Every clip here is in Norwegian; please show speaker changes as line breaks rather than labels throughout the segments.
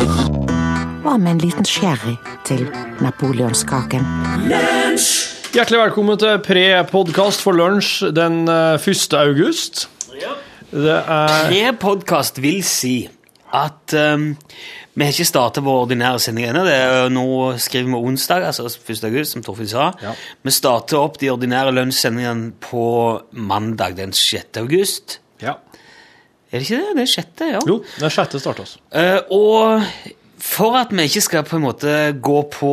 Hva med en liten sherry til napoleonskaken?
Hjertelig velkommen til pre-podkast for lunsj den eh, 1. august. Det er
E-podkast vil si at ehm, vi har ikke startet vår ordinære sending ennå. Det er jo- Nå skriver vi onsdag, altså 1. august, som Torfinn sa. Vi starter opp de ordinære lønnssendingene på mandag den 6. august.
ja.
Er det ikke det? Det er 6., ja.
Jo, den sjette starter oss.
Eh, og for at vi ikke skal på en måte gå på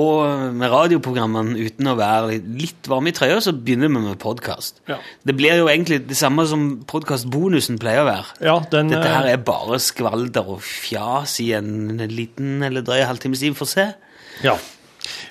med radioprogrammene uten å være litt, litt varme i trøya, så begynner vi med podkast.
Ja.
Det blir jo egentlig det samme som podkastbonusen pleier å være.
Ja, den
Dette her
eh,
er bare skvalder og fjas i en liten eller drøy halvtimes tid. Få se.
ja.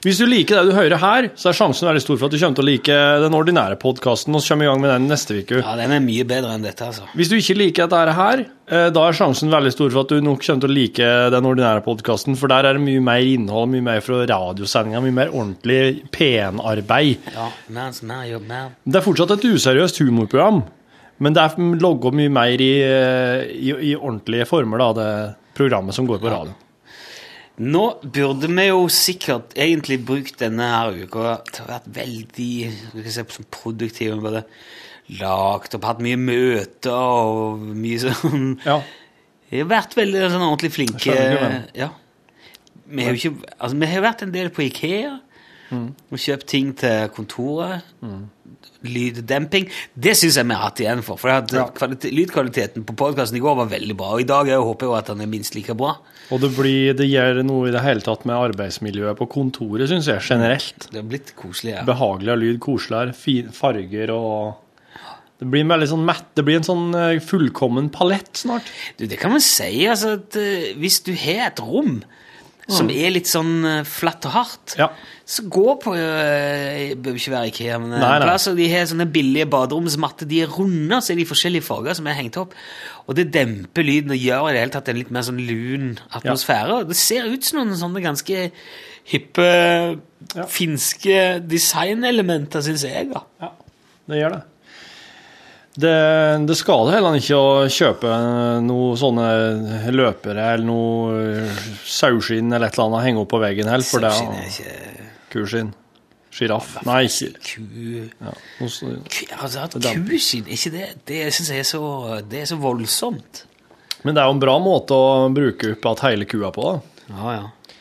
Hvis du liker det du hører her, så er sjansen veldig stor for at du kommer til å like den ordinære podkasten. Og så kommer vi i gang med den neste uke.
Ja, den er mye bedre enn dette, altså.
Hvis du ikke liker dette her, eh, da er sjansen veldig stor for at du nok kommer til å like den ordinære podkasten, for der er det mye mer innhold, mye mer fra radiosendinga, mye mer ordentlig PN-arbeid.
Ja, mer, mer jobb, mer.
Det er fortsatt et useriøst humorprogram, men det er logga mye mer i, eh, i, i ordentlige former, da, det programmet som går på radioen.
Nå burde vi jo sikkert egentlig brukt denne her uka til å ha vært veldig du kan si, sånn produktive med det. Lagt opp, hatt mye møter og mye sånn
Ja.
Vi har vært veldig sånn ordentlig flinke.
skjønner ikke det.
Ja. Vi har jo ikke, altså, vi har vært en del på Ikea
Mm.
og kjøpt ting til kontoret. Lyddemping. Det syns jeg vi har hatt igjen for. for at
Ja.
kvalite- Lydkvaliteten på podkasten i går var veldig bra, og i dag jeg håper jeg jo at den er minst like bra.
Og det, blir, det gjør noe i det hele tatt med arbeidsmiljøet på kontoret, syns jeg, generelt.
Det har blitt koseligere.
Behageligere lyd, koseligere, fi- farger og det blir, en veldig sånn mett, det blir en sånn eh, fullkommen palett snart.
Du, det kan man si. altså at eh, Hvis du har et rom som er litt sånn eh, flatt og hardt,
Mm. Ja.
Så gå på øh, Bør ikke være IKEA, men
Nei,
en
nei.
plass, og de har sånne billige baderomsmatter. De er runde, og så er de i forskjellige farger som er hengt opp. Og det demper lyden og gjør i det hele tatt en litt mer sånn lun atmosfære. Og Det ser ut som noen sånne ganske hippe finske designelementer, syns jeg. da.
Det gjør det. Det, det skader heller ikke å kjøpe noen sånne løpere eller noe saueskinn eller et eller annet å henge opp på veggen heller, for det
Sauskinn er
er
ikke
kuskinn. Sjiraff. Nei, ikke
ku...
ja, noe sånt.
ku altså, at
demper.
kuskinn er ikke det Det syns jeg er så, det er så voldsomt.
Men det er jo en bra måte å bruke opp at hele kua på, da.
Ja, ja.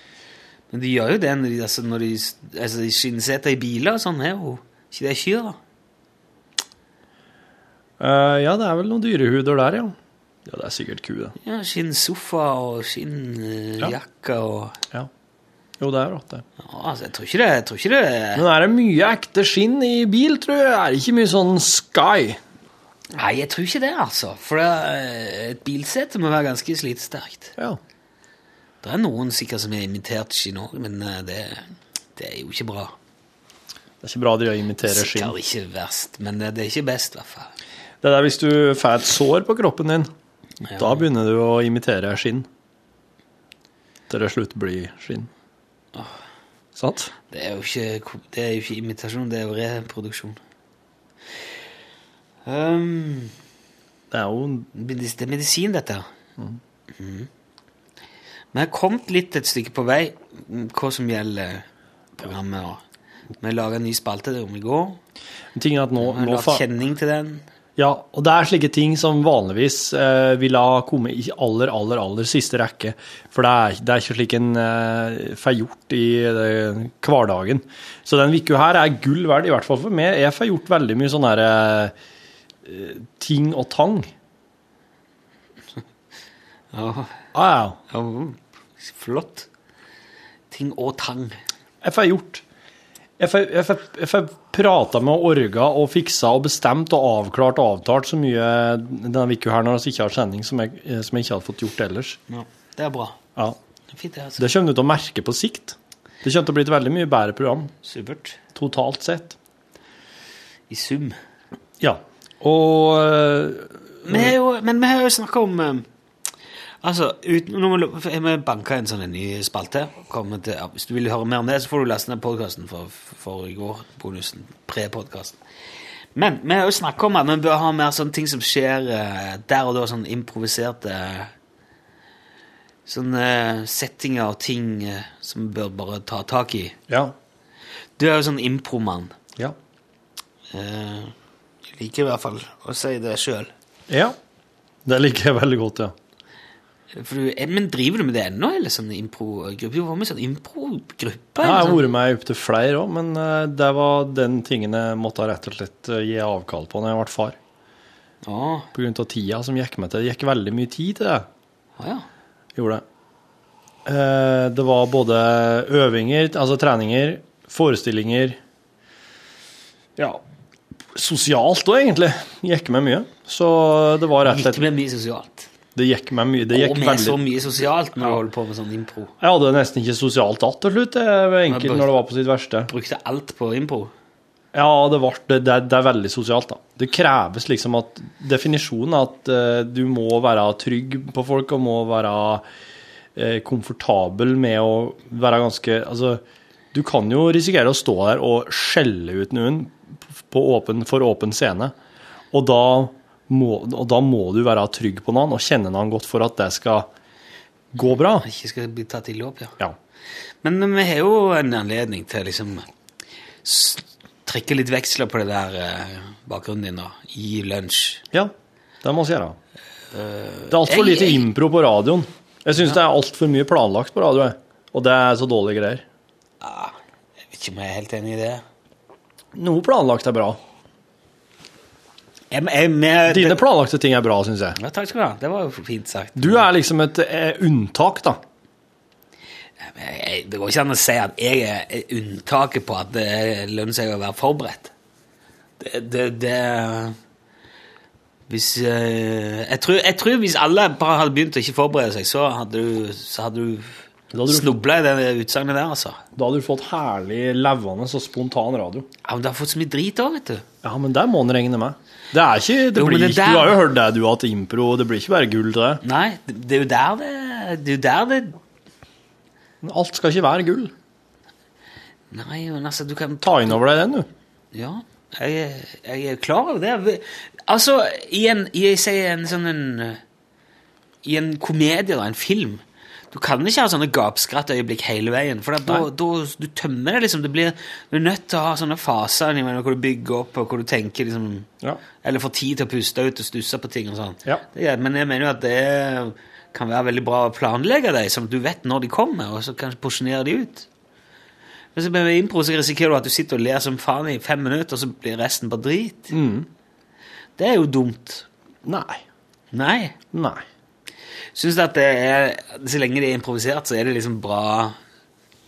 Men de gjør jo det når de, altså, når de, altså, de skinnseter i biler og sånn. er jo ikke det kyr, da?
Eh, ja, det er vel noen dyrehuder der, ja. Ja, det er sikkert ku, det.
Ja, Skinnsofa og skinnjakke og
Ja. Jo, det er rått, det.
ja, altså, Jeg tror ikke det jeg tror ikke det,
Men er det mye ekte skinn i bil, tror jeg? Er det ikke mye sånn Sky?
Nei, jeg tror ikke det, altså. For det, eh, et bilsete må være ganske slitesterkt.
Ja.
Det er noen sikkert som har imitert skinn òg, men eh, det, det er jo ikke bra.
Det er ikke bra å drive og imitere skinn.
Sikkert ikke verst, men eh, det, det er ikke best, i hvert fall.
Det er der hvis du får et sår på kroppen din,
Ja.
da begynner du å imitere skinn. Til det slutt blir skinn. Sant?
Det er jo ikke, ko- det er jo ikke imitasjon, det er jo reproduksjon. Um,
Det er jo
medis- det er medisin, dette her.
Mm.
Mhm. Vi har kommet litt et stykke på vei, mm, hva som gjelder programmet. Og. Vi laga en ny spalte det om i går.
ting at nå,
Vi har
nå
lagt
fa
kjenning til den.
Ja, og det er slike ting som vanligvis eh, vil ha komme i aller, aller, aller siste rekke. For det er, det er ikke slik en eh, får gjort i eh, hverdagen. Så den uka her er gull verdt, i hvert fall for meg. Jeg får gjort veldig mye sånne her, eh, ting og tang.
Ja,
Ah, ja.
ja, flott. Ting og tang.
Jeg får gjort. Jeg får, jeg får, jeg får prata med orga og fiksa og bestemt og avklart og avtalt så mye denne uka her når vi ikke har sending, som jeg, eh, som jeg ikke hadde fått gjort ellers.
Ja, det er bra.
Ja.
Det er Fint, det. altså.
Det kommer du til å merke på sikt. Det kommer til å bli et veldig mye bedre program
Supert.
totalt sett.
I sum.
Ja. Og øh,
Vi har jo, men vi har jo snakka om eh, Altså, uten, nå må lo- for Vi banka en sånn en ny spalte. Kommer Til, ja, hvis du vil høre mer om det, så får du laste ned podkasten for, for i går. Bonusen. Pre-podkasten. Men vi har jo snakka om at vi bør ha mer sånne ting som skjer eh, der og da, sånn improviserte sånne settinger og ting eh, som vi bør bare ta tak i.
Ja.
Du er jo sånn impromann.
Ja.
Eh, jeg liker i hvert fall å si det sjøl.
ja. Det liker jeg veldig godt, ja.
Men driver du med det ennå, eller sånn improgruppe? Du var med i sånn improgruppe?
Ja, jeg
eller
har
sånn?
vært med opp til flere òg, men eh, det var den tingen jeg måtte rett og slett eh, gi avkall på når jeg ble far.
Å,
På grunn av tida som gikk meg til. Det gikk veldig mye tid til det.
å ja.
Gjorde det. Eh, Det var både øvinger, altså treninger, forestillinger Ja, sosialt òg, egentlig. Gikk med mye. Så det var rett og
Gikk
slett
med mye sosialt.
Det gikk med mye. Det
og
gikk
med så
veldig
mye sosialt når du holder på med sånn impro.
Jeg hadde nesten ikke sosialt att til slutt, jeg var enkelt når det var på sitt verste.
Brukte alt på impro.
Ja, det, var, det, det, er- det er veldig sosialt, da. Det kreves liksom at Definisjonen er at eh, du må være trygg på folk og må være eh, komfortabel med å være ganske Altså, du kan jo risikere å stå der og skjelle ut noen på åpen, for åpen scene, og da må, og da må du være trygg på noen og kjenne noen godt for at det skal gå bra.
Ikke skal bli tatt i låp, ja.
Ja.
Men eh, vi har jo en anledning til å liksom s- trekke litt veksler på det der eh, bakgrunnen din nå, i lunsj.
Ja, det må vi gjøre. Det er altfor
jeg-
lite
jeg-
impro på radioen. Jeg syns det er altfor mye planlagt på radio, jeg. og det er så dårlige greier.
Jeg vet ikke om jeg er helt enig i det.
Noe planlagt er bra.
Jeg, jeg, med,
Dine planlagte ting er bra, syns jeg.
ja, takk skal du ha. Det var jo fint sagt.
Du er liksom et eh, unntak, da.
Jeg, jeg- det går ikke an å si at jeg er unntaket på at det lønner seg å være forberedt. Det, det, det Hvis eh, jeg tror, jeg tror hvis alle bare hadde begynt å ikke forberede seg, så hadde du, så hadde
Da
du
hadde du-
snubla i det utsagnet der, altså.
Da hadde du fått herlig levende og spontan radio.
Ja, men du har fått så mye drit òg, vet du.
Ja, men det må en regne med. Det er ikke, det
Jo, men
blir,
det
ikke-
der-
Du har jo hørt det, du, at impro Det blir ikke bare gull til det.
Nei, det, det er jo der det Det er jo der det
Alt skal ikke være gull.
Nei, men altså, du kan
Ta inn over deg den, du.
Ja, jeg, er- jeg er klar over det. Vi- Altså, i en, jeg sier en sånn en, eh, I en komedie eller en film Du kan ikke ha sånne gapskrattøyeblikk hele veien. For at da,
Nei.
da du tømmer det, liksom. Det blir, du er nødt til å ha sånne faser innimellom hvor du bygger opp, og hvor du tenker liksom
Ja.
Eller får tid til å puste ut og stusse på ting og sånn.
Ja.
Det er- Men jeg mener jo at det kan være veldig bra å planlegge dem, sånn at du vet når de kommer, og så kan du porsjonere de ut. Men så med impro så risikerer du at du sitter og ler som faen i fem minutter, og så blir resten bare drit.
Mm.
Det er jo dumt.
Nei.
Nei.
Nei.
Syns at det er Så lenge det er improvisert, så er det liksom bra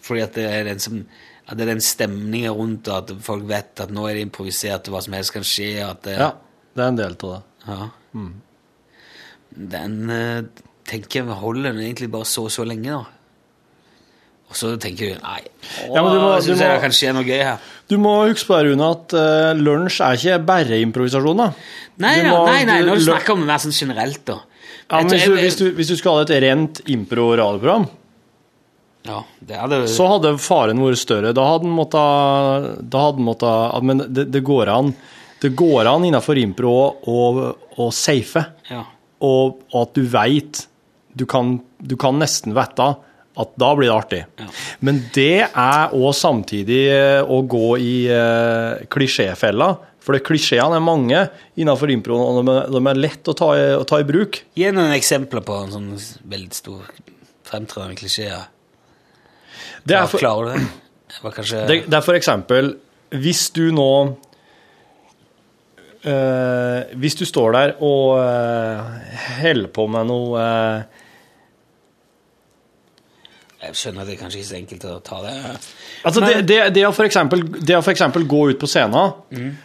fordi at det er den som at det er den stemningen rundt, og at folk vet at nå er det improvisert, og hva som helst kan skje, og at det,
Ja, det er en del av det.
Ja.
Mm.
Den eh, tenker jeg holder den egentlig bare så og så lenge, da. Og så tenker du nei,
Ja, men du må-
syns
du
jeg
må-
det kan skje noe gøy her.
Du må huske på det, Rune, at eh, lunsj er ikke bare improvisasjon. da.
Nei,
Du
ja,
må-
nei, nei,
du-
når du
lu-
snakker om det mer sånn generelt, da.
ja, men
Jeg
hvis,
tror-
du, hvis, du, hvis du skulle ha et rent impro-radioprogram,
Ja, det hadde
så hadde faren vært større. Da hadde han måttet da hadde han måttet- at- Men det, det går an Det går an innenfor impro å å safe,
ja.
og, og at du veit du, kan- du kan nesten vite at da blir det artig.
Ja.
Men det er òg samtidig eh, å gå i eh, klisjéfella. For det- klisjeene er mange innenfor impro, og de er, de er lett å ta, i, å ta i bruk.
Gi noen eksempler på en sånn veldig stor fremtredende klisjé. ja.
Det er, for,
Klarer du det? Det var kanskje
det, det er for eksempel Hvis du nå eh, Hvis du står der og eh, holder på med noe eh,
Jeg skjønner at det er kanskje ikke så enkelt å ta det.
Altså, det, det, det, å for eksempel, det å for eksempel gå ut på scenen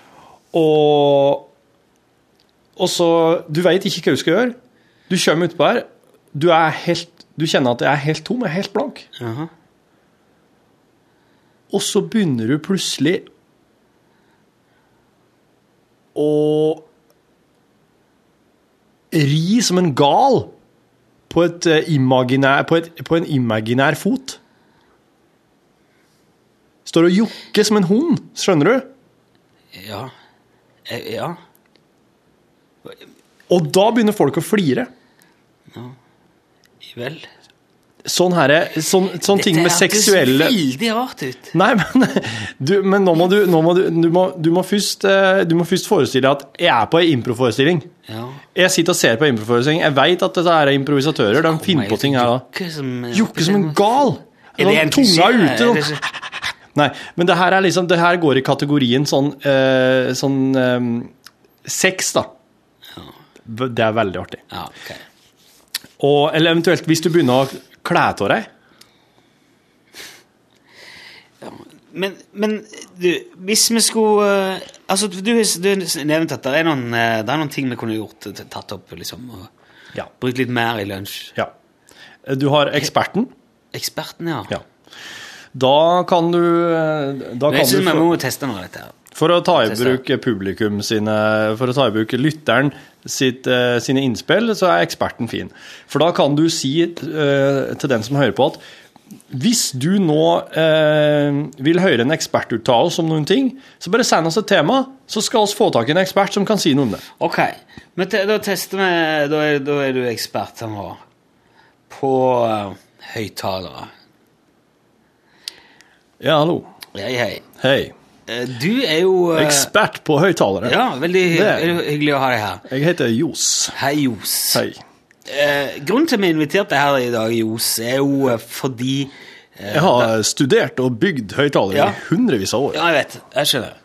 og, og så Du veit ikke hva du skal gjøre. Du kommer utpå her. Du, er helt, du kjenner at jeg er helt tom, jeg er helt blank.
Jaha.
Og så begynner du plutselig å ri som en gal på, et eh, imaginær, på, et, på en imaginær fot. Står og jokker som en hund, skjønner du?
Ja. Eh, Ja.
Og da begynner folk å flire.
Vel.
sånn herre Sånn, sånn ting med seksuelle
veldig rart ut.
Nei, men, du, men nå må du, nå må du, du, må, du, må først, eh, du må først forestille deg at jeg er på ei improforestilling.
Ja.
Jeg sitter og ser på ei improforestilling. Jeg veit at dette er improvisatører. De finner på ting her da.
Jukke som,
Jokke som en gal!
Er det en
Sånn, tunga
tusje?
ute.
Er
Sånn.
det ikke-
Nei, men det her, er liksom, det her går i kategorien sånn, eh, sånn eh, sex, da. Det er veldig artig.
Ja, ok.
Og, eller eventuelt hvis du begynner å kle av deg.
Men, men du, hvis vi skulle eh, Altså, du, du nevnte at det er, noen, eh, det er noen ting vi kunne gjort, eh, tatt opp, liksom. Og
Ja.
brukt litt mer i lunsj.
ja. Du har eksperten.
Eksperten, ja.
Ja. Da kan du, eh, da
Men
kan du
jeg synes vi
få,
må teste noe av dette. her.
For å ta i bruk publikum sine For å ta i bruk lytteren sitt, eh, sine innspill, så er eksperten fin. For da kan du si eh, til den som hører på, at hvis du nå eh, vil høre en ekspert uttale oss om noen ting, så bare send oss et tema, så skal vi få tak i en ekspert som kan si noe om det.
Ok, men te, da tester vi Da er, da er du ekspert her nå. På eh, høyttalere.
Ja, hallo.
Hei, hei.
Hei.
Eh, Du er jo eh,
Ekspert på høyttalere.
Ja, veldig hy-
Det er jeg.
hyggelig å ha deg her.
Jeg heter Johs.
Hei, Johs.
Hei.
Eh, grunnen til at vi inviterte deg her i dag, Johs, er jo eh, fordi eh,
Jeg har studert og bygd høyttalere
Ja.
i hundrevis av år.
Ja, jeg vet. Jeg skjønner.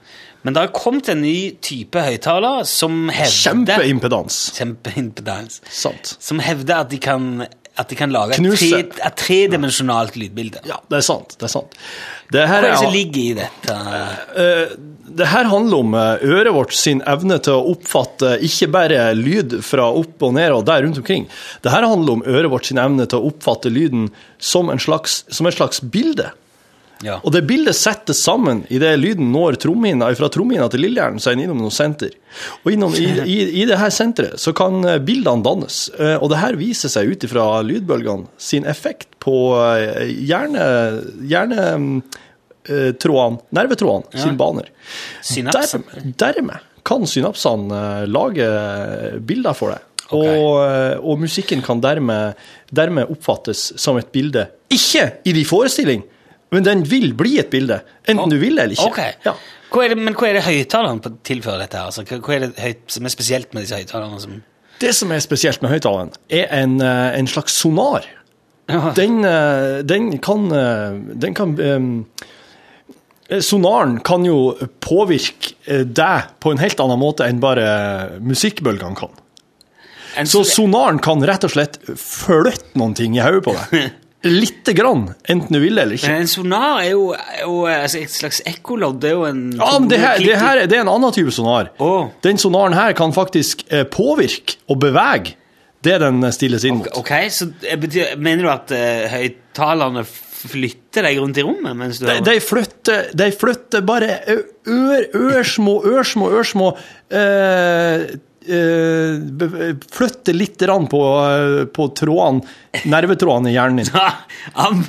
Men det har kommet en ny type høyttaler som hevder
Kjempeimpedans.
Kjempeimpedans.
Sant.
Som hevder at de kan, at de kan lage et,
Knuse.
tre, et tredimensjonalt lydbilde.
Ja, det er sant. Det er sant. Det her,
Hva er det som
er,
ligger i dette?
eh, det her handler om eh, øret vårt sin evne til å oppfatte ikke bare lyd fra opp og ned og der rundt omkring. Det her handler om øret vårt sin evne til å oppfatte lyden som, en slags, som et slags bilde.
Ja.
Og det bildet settes sammen idet lyden når trommehinna fra trommehinna til lillehjernen, så er den innom noe senter. Og innom, i, i, i det her senteret så kan eh, bildene dannes, eh, og det her viser seg ut ifra lydbølgene sin effekt på eh, hjerne... hjerne eh, Trådene, nervetrådene, sine baner.
Synapsen.
Dermed, dermed kan synapsene eh, lage bilder for deg.
Ok.
Og, eh, og musikken kan dermed, dermed oppfattes som et bilde. Ikke i din forestilling, men den vil bli et bilde. Enten du vil eller ikke.
Ok.
Ja.
Hva er det, men hva er det høyttaleren på- tilfører dette? her? Altså, hva, hva er det høyt, som er spesielt med disse høyttalerne? Som...
Det som er spesielt med høyttaleren, er en, eh, en slags sonar.
Ja.
Den, eh, den kan, eh, den kan em, eh, Sonaren kan jo påvirke eh, deg på en helt annen måte enn bare musikkbølgene kan.
En,
Så sonaren kan rett og slett flytte noen ting i hodet på deg. Lite grann, enten du vil eller ikke.
men en sonar er jo, er jo altså, et slags ekkolodd. Det er jo en
Ja, men det her, det her det er en annen type sonar.
Å.
Den sonaren her kan faktisk eh, påvirke og bevege det den eh, stilles inn mot.
Ok, så det betyr, mener du at eh, høyttalerne flytter deg rundt i rommet mens du
De, de, flytter, de flytter bare ø- ør, ørsmå, ørsmå, ørsmå eh, eh, be- Flytter litt rann på, eh, på trådene, nervetrådene i hjernen din.
Han,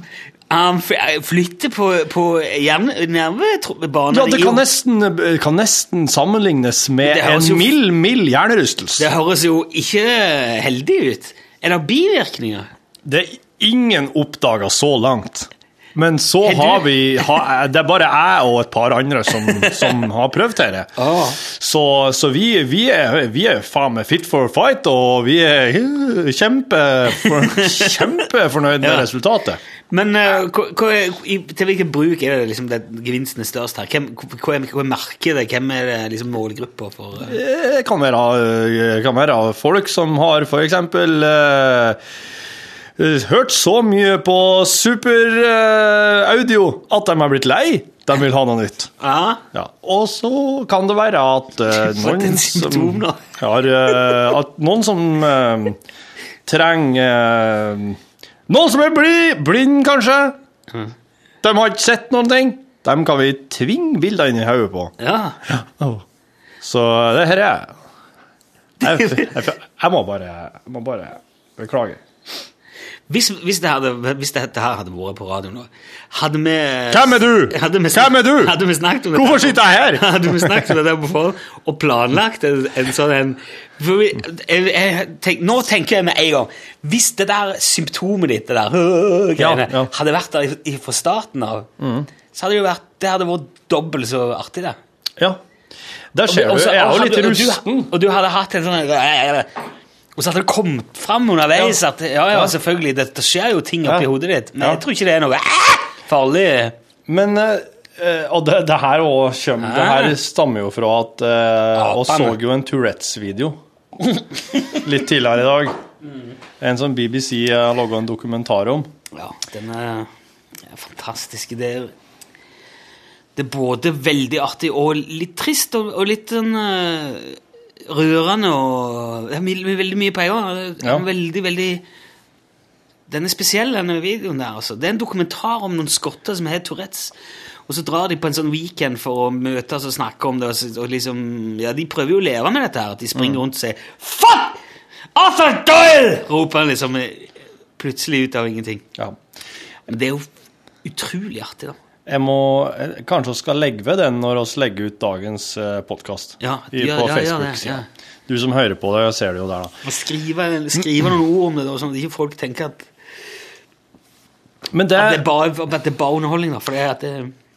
han f- eh, flytter på, på hjerne- nervebanen
Ja, det
i
kan
rom.
nesten, eh, kan nesten sammenlignes med
Det høres jo-
en mild, mild hjernerystelse.
Det høres jo ikke heldig ut. Er det bivirkninger?
Det er ingen oppdaga så langt. Men så
Er du-
har vi ha, eh, Det er bare jeg og et par andre som, som har prøvd dette.
Ah.
Så, så vi, vi, er, vi er faen meg fit for fight, og vi er kjempe, kjempefornøyd med
Ja.
resultatet.
Men eh, hva, hva er, i, til hvilken bruk er det liksom det gevinsten er størst her? Hvem, hva, er, hva er markedet? Hvem er det liksom målgruppa for? eh?
Det kan være, eh, kan være folk som har for eksempel eh, eh, hørt så mye på superaudio at de er blitt lei. De vil ha noe nytt.
Ja,
Ja. Og så kan det være at eh,
For et
noen
symptom,
som
da.
har eh, At noen som eh, trenger eh, Noen som er bli, blind, kanskje. De har ikke sett noen ting. Dem kan vi tvinge bilder inn i hodet på.
ja.
Så det her er jeg, jeg, jeg, jeg, må bare, jeg må bare beklage.
Hvis, hvis, det hadde, hvis dette her hadde vært på radio nå, hadde vi
Hvem er du?
Hadde vi,
Hvem er du?
Hadde vi snakket om dette-
Hvorfor sitter jeg her?
Hadde vi snakket om det der på forhånd og planlagt en, en sånn en for vi, jeg, jeg, tenk, Nå tenker jeg med en gang Hvis det der symptomet ditt, det der
Ja,
øh, greiene,
ja. Mm.
hadde vært der i- i- fra starten av, så hadde det jo vært Det hadde vært dobbelt så artig, det.
Ja. Der ser du.
Og så-
Jeg er jo
og hadde-
litt
og du-
rusten.
Og du hadde hatt en sånn øh, øh, øh. Og så hadde det kommet fram underveis
Ja.
at Ja, ja,
Ja.
selvfølgelig, det, det skjer jo ting oppi
Ja.
hodet ditt, men
Ja.
jeg tror ikke det er noe øh, farlig.
Men eh, eh, Og det, det her også kommer Det her stammer jo fra at eh, oss så
Apene.
jo en Tourettes-video litt tidligere i dag. En som BBC eh, har laga en dokumentar om.
Ja, den er, er fantastisk. Det er, det er både veldig artig og litt trist og, og litt sånn eh, rørende og Det er mye- mye- veldig mye på en gang. Det er
Ja.
en Veldig, veldig Den er spesiell, denne videoen der, altså. Det er en dokumentar om noen skotter som har Tourettes. Og så drar de på en sånn weekend for å møtes og snakke om det. Og, så- og liksom, ja, De prøver jo å leve med dette her. At de springer rundt og sier 'Fuck! Arthur Doyle!' roper han liksom eh, plutselig ut av ingenting.
Ja.
Men det er jo utrolig artig, da.
Jeg må eh, Kanskje vi skal legge ved den når vi legger ut dagens uh, podkast
Ja,
på
gjør- ja, gjør det,
Facebook-sida.
ja.
Du som hører på det, ser det jo der, da.
Å skrive, skrive noen ord om det, da, sånn at ikke folk tenker at,
Men det,
at, det, er bare, at det er bare underholdning. da, for det er at det,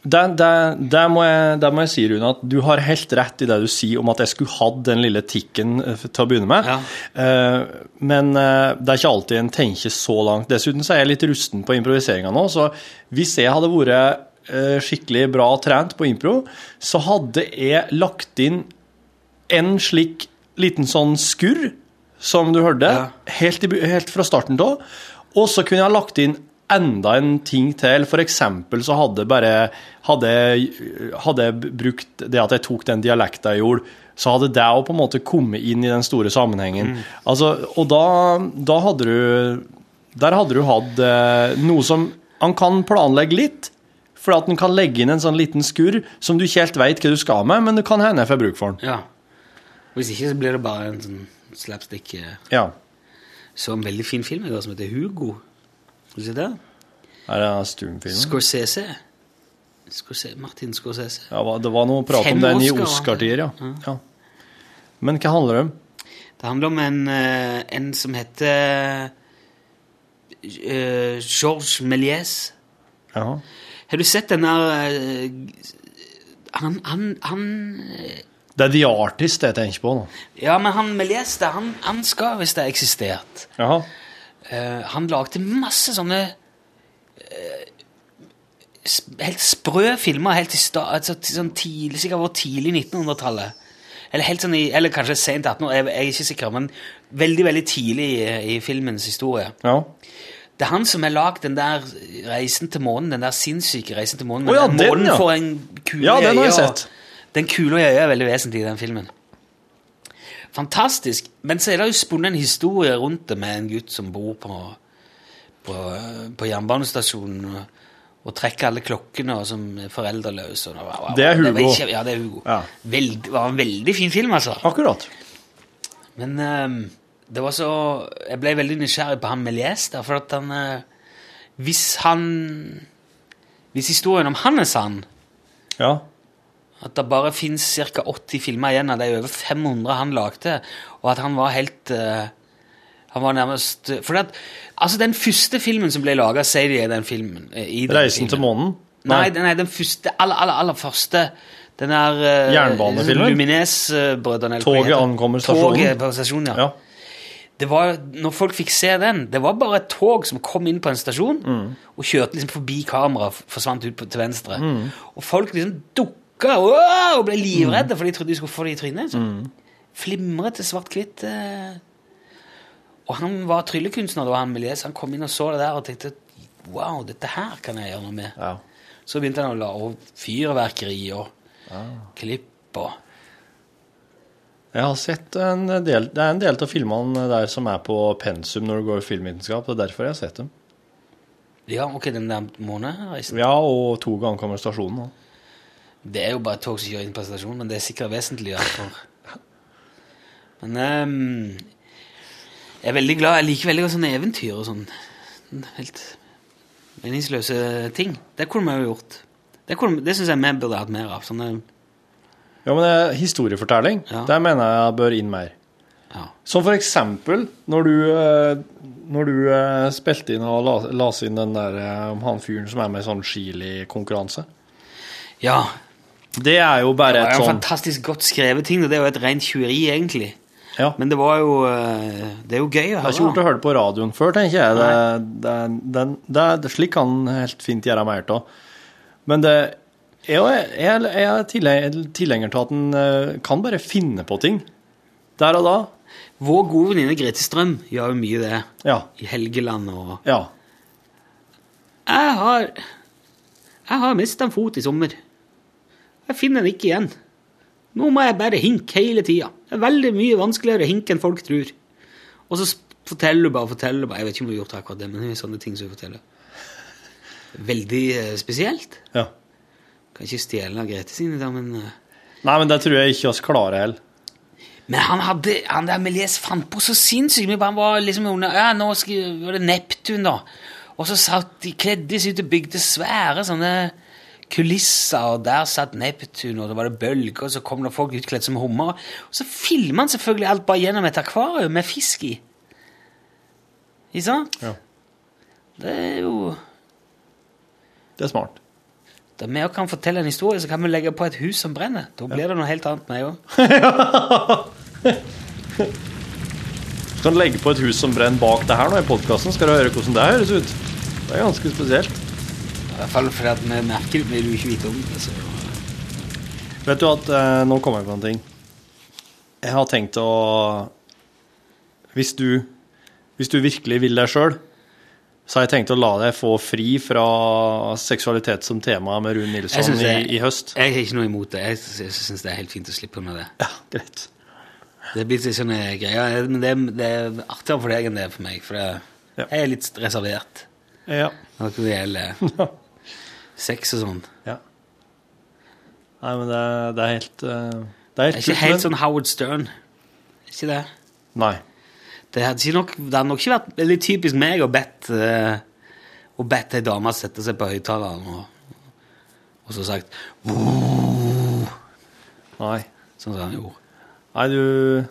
det, det, det, må jeg, det må jeg si, Rune, at du har helt rett i det du sier om at jeg skulle hatt den lille tikken eh, til å begynne med.
Ja.
Eh, men eh, det er ikke alltid en tenker så langt. Dessuten så er jeg litt rusten på improviseringa nå, så hvis jeg hadde vært eh, skikkelig bra trent på impro, så hadde jeg lagt inn en slik liten sånn skurr, som du hørte,
Ja.
helt, i, bu- helt fra starten da. Og så kunne jeg ha lagt inn enda en ting til. For eksempel så hadde jeg bare hadde, jeg- hadde jeg brukt det at jeg tok den dialekta jeg gjorde, så hadde det òg på en måte kommet inn i den store sammenhengen. Altså, og da, da hadde du Der hadde du hatt eh, noe som Han kan planlegge litt. For at en kan legge inn en sånn liten skurr som du ikke helt veit hva du skal med, men det kan hende jeg får bruk for den.
ja. Hvis ikke, så blir det bare en sånn slapstick. eh.
Ja.
Så en veldig fin film i går som heter Hugo. Har du sett det?
Er det stumfilmen?
Scorsese. Scorsese. Martin Scorsese.
Ja, hva- det var noe prat om
Fem
den i
Oscar, var det?
Oscar-tider, ja. ja. Men hva handler det om?
Det handler om en, eh, en som heter eh, Georges Méliès.
Jaha.
Har du sett den der eh, Han, han, han eh,
Det er The Artist jeg tenker på nå.
Ja, men han Méliès, det, han, han skal hvis det har eksistert.
Jaha.
Eh, han lagde masse sånne eh, sp- helt sprø filmer helt i sta, altså, til sånn tidlig, sikkert var tidlig 1900-tallet. Eller, helt sånn i, eller kanskje sent 1800, jeg, jeg er ikke sikker, men veldig veldig tidlig i, i filmens historie.
Ja.
Det er han som har lagd den der reisen til månen, den der sinnssyke reisen til månen.
Å ja,
den
den,
månen
ja.
får en kule
Ja, den har jeg
i øyet, og-
sett.
Den kula i øyet er veldig vesentlig i den filmen. Fantastisk. Men så er det jo spunnet en historie rundt det med en gutt som bor på, på, på jernbanestasjonen og, og trekker alle klokkene, og som er foreldreløs. Og, og- og-
Det er Hugo.
var ikke- ja, det er Hugo.
Ja.
Veld, det var en veldig fin film, altså.
Akkurat.
Men ehm, det var så Jeg ble veldig nysgjerrig på han Melies, da, for at han eh, Hvis han Hvis historien om han er sann,
Ja.
at det bare fins ca. 80 filmer igjen av de over 500 han lagde, og at han var helt eh, Han var nærmest For at, altså, den første filmen som ble laga, sier de er den filmen. eh, i den
'Reisen
filmen.
til månen'?
Nei, den, nei, den første, aller, aller, aller første Den der eh,
Jernbanefilmen?
Lumines-brødrene. eller hva
Toget
det heter.
ankommer stasjonen.
Toget på stasjonen, ja.
Ja.
Det var, når folk fikk se den, det var bare et tog som kom inn på en stasjon og kjørte liksom forbi kameraet, f- forsvant ut på, til venstre. Og folk liksom dukka «Åh!» og ble livredde, for de trodde de skulle få det i trynet. Mm. Flimrete svart-hvitt. eh. Og han var tryllekunstner, da, han Melies. Han kom inn og så det der og tenkte Wow, dette her kan jeg gjøre noe med.
ja.
Så begynte han å lage fyrverkeri og klipp og
Jeg har sett en del Det er en del av filmene der som er på pensum når du går i filmvitenskap. Det er derfor jeg har sett dem.
Ja, ok, den der månereisen.
Ja, og 'Toget ankommer stasjonen'. også.
Det er jo bare et tog som kjører inn på en stasjon, men det er sikkert vesentligere for Men ehm, jeg er veldig glad Jeg liker veldig godt sånne eventyr og sånn. helt meningsløse ting. Det kunne vi jo gjort. Det, kunne- det syns jeg vi burde hatt mer av. Sånne,
Ja, men det er historiefortelling.
Ja.
Det mener jeg bør inn mer.
ja.
Som for eksempel når du, eh, når du eh, spilte inn og la, las inn den der eh, om han fyren som er med i sånn chili-konkurranse.
ja.
Det er jo
Det
bare
var
et
jo en
sånn
fantastisk godt skrevet ting, og det er jo et rent tjuveri, egentlig.
ja.
Men det var jo eh, Det er jo gøy å
Det er ikke gjort
høre.
å høre det på radioen før, tenker jeg. Det, det, det, det, det, slik kan en helt fint gjøre mer av. Men det er jo- jeg, jeg er tilhe- tilhenger til at en eh, kan bare finne på ting der og da.
Vår gode venninne Grete Strøm gjør jo mye det.
Ja.
I Helgeland og
ja.
Jeg har Jeg har mista en fot i sommer. Jeg finner den ikke igjen. Nå må jeg bare hinke hele tida. Det er veldig mye vanskeligere å hinke enn folk tror. Og så sp- forteller du bare og forteller du bare. Jeg vet ikke om du har gjort akkurat det, men det er sånne ting som du forteller. Veldig eh, spesielt.
ja.
Kan ikke stjele av Grete sine, da, men eh,
Nei, men det tror jeg ikke oss klarer heller.
Men han hadde, han der Melies fant på så sinnssykt mye. Han var liksom under, ja, nå skal, var det Neptun da. Og så satt de kledde seg ut og bygde svære sånne kulisser, og der satt Neptun, og det var det bølger, og så kom det folk utkledd som hummer. Og så filmet han selvfølgelig alt bare gjennom et akvarium med fisk i. Ikke sant?
Ja.
Det er jo...
Det er smart.
Da vi også kan fortelle en historie, så kan vi legge på et hus som brenner. Da blir det noe helt annet med også.
Du kan legge på et hus som brenner bak det her nå i podkasten, skal du høre hvordan det høres ut. Det er ganske spesielt.
I hvert fall fordi at vi merker det, vi vil jo ikke vite om det, så...
Vet du at eh, Nå kommer jeg på en ting. Jeg har tenkt å Hvis du, hvis du virkelig vil deg sjøl, så har jeg tenkt å la deg få fri fra seksualitet som tema med Rune
Jeg
Nilsson
synes
Sånn i,
det-
i høst.
Jeg har ikke noe imot det. Jeg sy- syns det er helt fint å slippe unna det.
Ja, greit.
Det blir litt sånne greier, men det, er- det er artigere for deg enn det er for meg, for det,
Ja.
jeg er litt reservert
Ja.
når det gjelder sex og sånn.
ja. Nei, men det, er- det er helt eh, Det er
Jeg er
helt
ikke
kult,
helt
men-
sånn Howard Stern. Er Ikke det?
Nei.
Det hadde, ikke nok, det hadde nok ikke vært veldig typisk meg å bedt eh, å bedt ei dame sette seg på høyttaleren og, og så sagt
Nei.
sånn som han gjorde.
Nei, du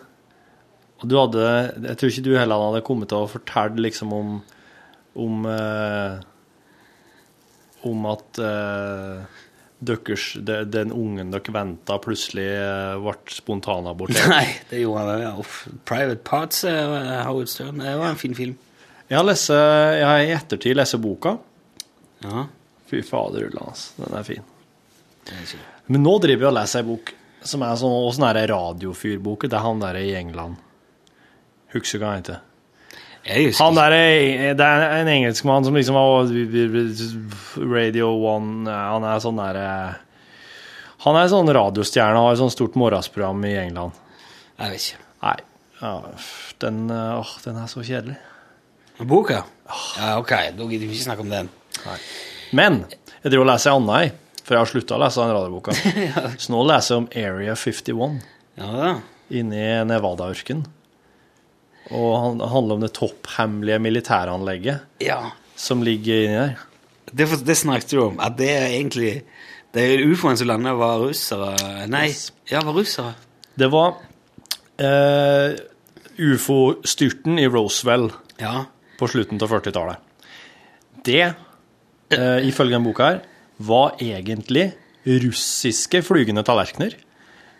og du hadde, Jeg tror ikke du heller hadde kommet til å fortelle liksom om om, eh, om at eh, deres, de, den ungen dere venta, plutselig eh, ble spontanabortert.
Nei, det gjorde han. ja. Uff. Private Parts, eh, Howard Stern. Det var en fin film.
Jeg har, lese, jeg har i ettertid lest boka.
Ja,
Fy fader, Ulla, altså. Den er fin.
det er ikke
Men nå driver jeg og leser ei bok som er sånn, og sånn her radiofyrbok. Det er han der i England. Husker du hva han heter?
Jeg husker
Han der, er- det er en engelskmann som liksom var Radio One eh, Han er sånn der eh, Han er sånn radiostjerne og har sånn stort morgensprogram i England.
ikke. Jeg vet ikke.
Nei, ja, f- den, eh, åh, den er så kjedelig.
Boka? Ja, ok, da gidder vi ikke snakke om den.
Men jeg driver og leser ei anna, jeg, for jeg har slutta å lese den radioboka. Så nå leser jeg om Area 51
Ja da.
inni Nevada-ørken. Og han- det handler om det topphemmelige militæranlegget
Ja.
som ligger inni der.
Det, for- det snakket du om, at det er egentlig Det er ufoen som landa, var russere Nei,
Yes.
ja, var russere.
Det var eh, ufo-styrten i Roswell
Ja.
på slutten av 40-tallet. Det, eh, ifølge denne boka her, var egentlig russiske flygende tallerkener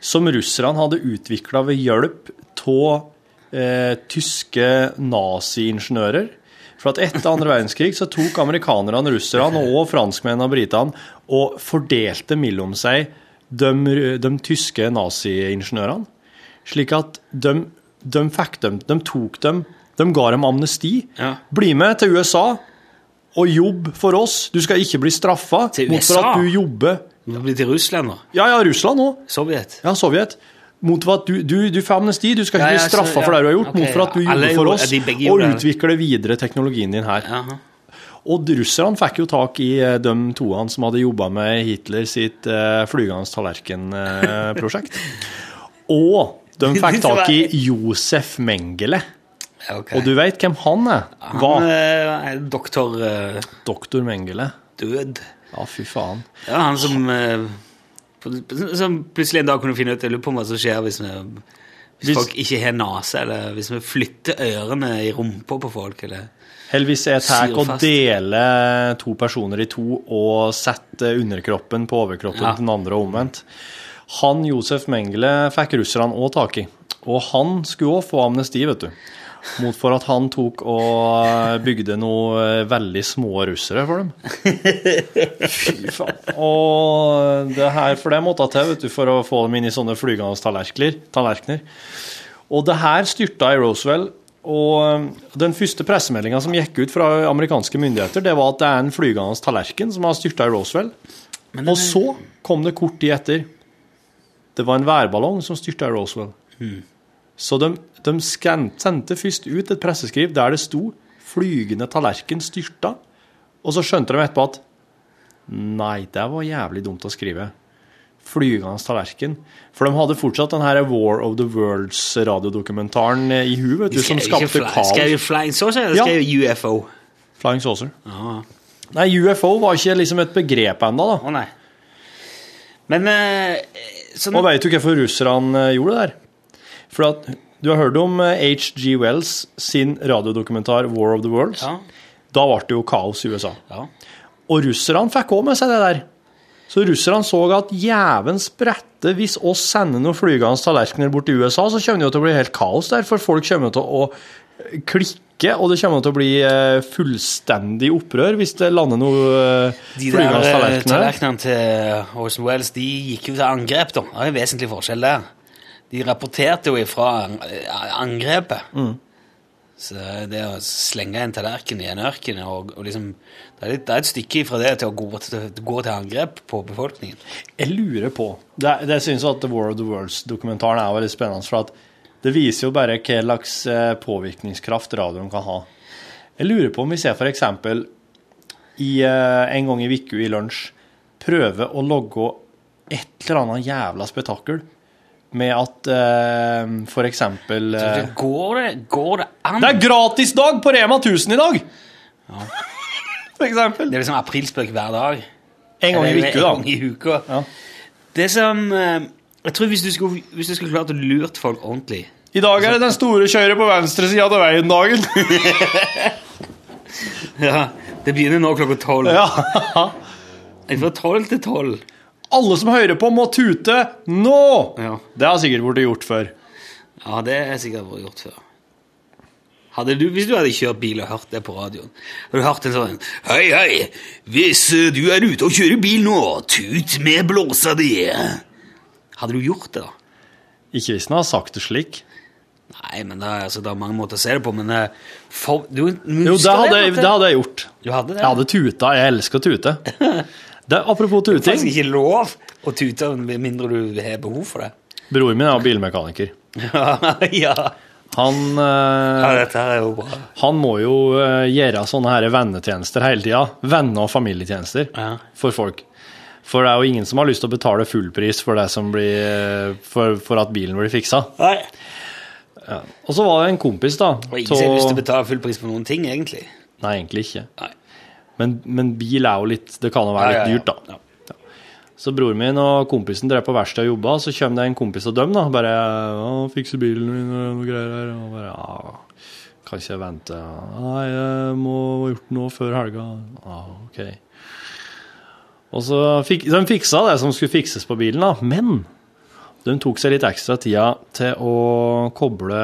som russerne hadde utvikla ved hjelp av eh, tyske naziingeniører. For at etter andre verdenskrig så tok amerikanerne, russerne og franskmennene og britene og fordelte mellom seg de, de tyske naziingeniørene. Slik at de, de fikk dem, de tok dem, de ga dem amnesti.
Ja.
Bli med til USA og jobb for oss. Du skal ikke bli straffa
Til
mot for
USA?
at du jobber
Nå blir det til Russland, da.
Ja, ja, Russland òg.
Sovjet.
Ja, Sovjet. Mot for at du, du, du får amnesti, du skal ikke
Ja, ja,
bli
så-
straffa
ja.
for det du har gjort,
Ok,
mot for at du
ja. Alle
jobber
gjorde-
for oss,
de begge
og
gjorde det.
utvikle videre teknologien din her.
Jaha.
Og russerne fikk jo tak i eh, de toene som hadde jobba med Hitler sitt eh, flygende eh, tallerken-prosjekt. og de fikk tak i Josef Mengele,
Ok.
Og du veit hvem han er? Hva?
Han eh, er doktor eh,
Doktor Mengele.
Død.
Ja, fy faen.
Det var han som, eh, på- som plutselig en dag kunne finne ut Jeg lurer på hva som skjer hvis, vi, hvis,
Hvis-
folk ikke har nese, eller hvis vi flytter ørene i rumpa på folk, eller
Eller hvis jeg tar
Syr
og
fast.
deler to personer i to og setter underkroppen på overkroppen
Ja.
til den andre og omvendt. Han Josef Mengele fikk russerne òg tak i, og han skulle òg få amnesti, vet du. Mot for at han tok og bygde noe veldig små russere for dem. Fy faen. Og det her for det måtte til, vet du, for å få dem inn i sånne flygende tallerkener. tallerkener. Og det her styrta i Roswell. Og um, den første pressemeldinga som gikk ut fra amerikanske myndigheter, det var at det er en flygende tallerken som har styrta i Roswell. og så kom det kort tid etter. Det var en værballong som styrta i Roswell.
Hmm.
Så de, de skan, sendte først ut et presseskriv der det sto 'Flygende tallerken styrta', og så skjønte de etterpå at Nei, det var jævlig dumt å skrive. Flygende tallerken. For de hadde fortsatt den her War of the Worlds-radiodokumentaren i huet, vet du, som
Skal jeg ikke
skapte
fly-
kaos.
Skal jeg flying saucer, eller
Ja.
skal jeg UFO?
Flying saucer.
Ja.
Nei, UFO var ikke liksom et begrep ennå, da.
Å nei. Men eh, sånn,
Og veit du hvorfor russerne eh, gjorde det der? For at du har hørt om eh, H.G. Wells sin radiodokumentar 'War of the Worlds'?
ja,
Da ble det jo kaos i USA.
ja.
Og russerne fikk òg med seg det der. Så russerne så at jæven sprette, hvis oss sender noen flygende tallerkener bort til USA, så kommer det jo til å bli helt kaos der, for folk kommer til å eh, klikke, og det kommer til å bli eh, fullstendig opprør hvis det lander noen eh,
De der
flygende
eh,
tallerkener. der.
tallerkenene til eh, Orson Welles de gikk jo til angrep, da. Det er en vesentlig forskjell der. De rapporterte jo ifra eh, angrepet.
Mm.
Så det å slenge en tallerken i en ørken og, og liksom, det, er litt, det er et stykke ifra det til å gå til, gå til angrep på befolkningen.
Jeg lurer på Det, er- det synes jeg at The War of the Worlds-dokumentaren er veldig spennende, for at det viser jo bare hva slags eh, påvirkningskraft radioen kan ha. Jeg lurer på om vi ser for eksempel i, eh, en gang i uka i lunsj prøve å logge et eller annet jævla spetakkel med at eh, for eksempel
Så
eh,
det går, det, går det an?
Det er gratisdag på Rema 1000 i dag! for eksempel.
Det er liksom aprilspøk hver dag.
En gang i uka,
Eller En gang
da.
i uka.
Ja.
Det som eh, Jeg tror hvis du skulle, hvis du skulle klart å lure folk ordentlig
I dag er det den store kjøret på venstre sida av veien-dagen.
ja, Det begynner nå klokka tolv.
Ja.
Fra tolv til tolv.
Alle som hører på, må tute nå!
Ja.
Det har sikkert blitt gjort før.
ja, det er sikkert vært gjort før. Hadde du, hvis du hadde kjørt bil og hørt det på radioen Hadde du hørt en sånn Hei, hei, hvis eh, du er ute og kjører bil nå, tut med blåsa di! Hadde du gjort det, da?
Ikke hvis den har sagt det slik.
Nei, men det er, altså, det er mange måter å se det på, men eh, for, du,
Jo, det hadde, jeg- det hadde jeg gjort.
Du hadde det?
Jeg hadde tuta. Jeg elsker å tute. Det, apropos
Det er faktisk
tuting.
ikke lov å tute med mindre du har behov for det.
Broren min er bilmekaniker.
ja.
Han, eh,
ja, dette her er jo bra.
han må jo eh, gjøre sånne her vennetjenester hele tida. Venne- og familietjenester
Ja.
for folk. For det er jo ingen som har lyst til å betale full pris for, det som blir, eh, for, for at bilen blir fiksa.
Nei.
Og så var det en kompis, da.
Og ingen som har
tå-
lyst til å betale full pris for noen ting, egentlig.
Nei, egentlig ikke.
Nei.
Men, men bil er jo litt Det kan jo være
Ja, ja, ja.
litt dyrt, da. Så broren min og kompisen drev på verkstedet og jobba, så kommer det en kompis av dem da, bare ja, 'Fikser bilen min og noe greier her.' Og bare ja, 'Kan ikke jeg vente.' Nei, jeg må ha gjort noe før helga. Ja, ok. Og så fik, De fiksa det som skulle fikses på bilen, da, men de tok seg litt ekstra tida til å koble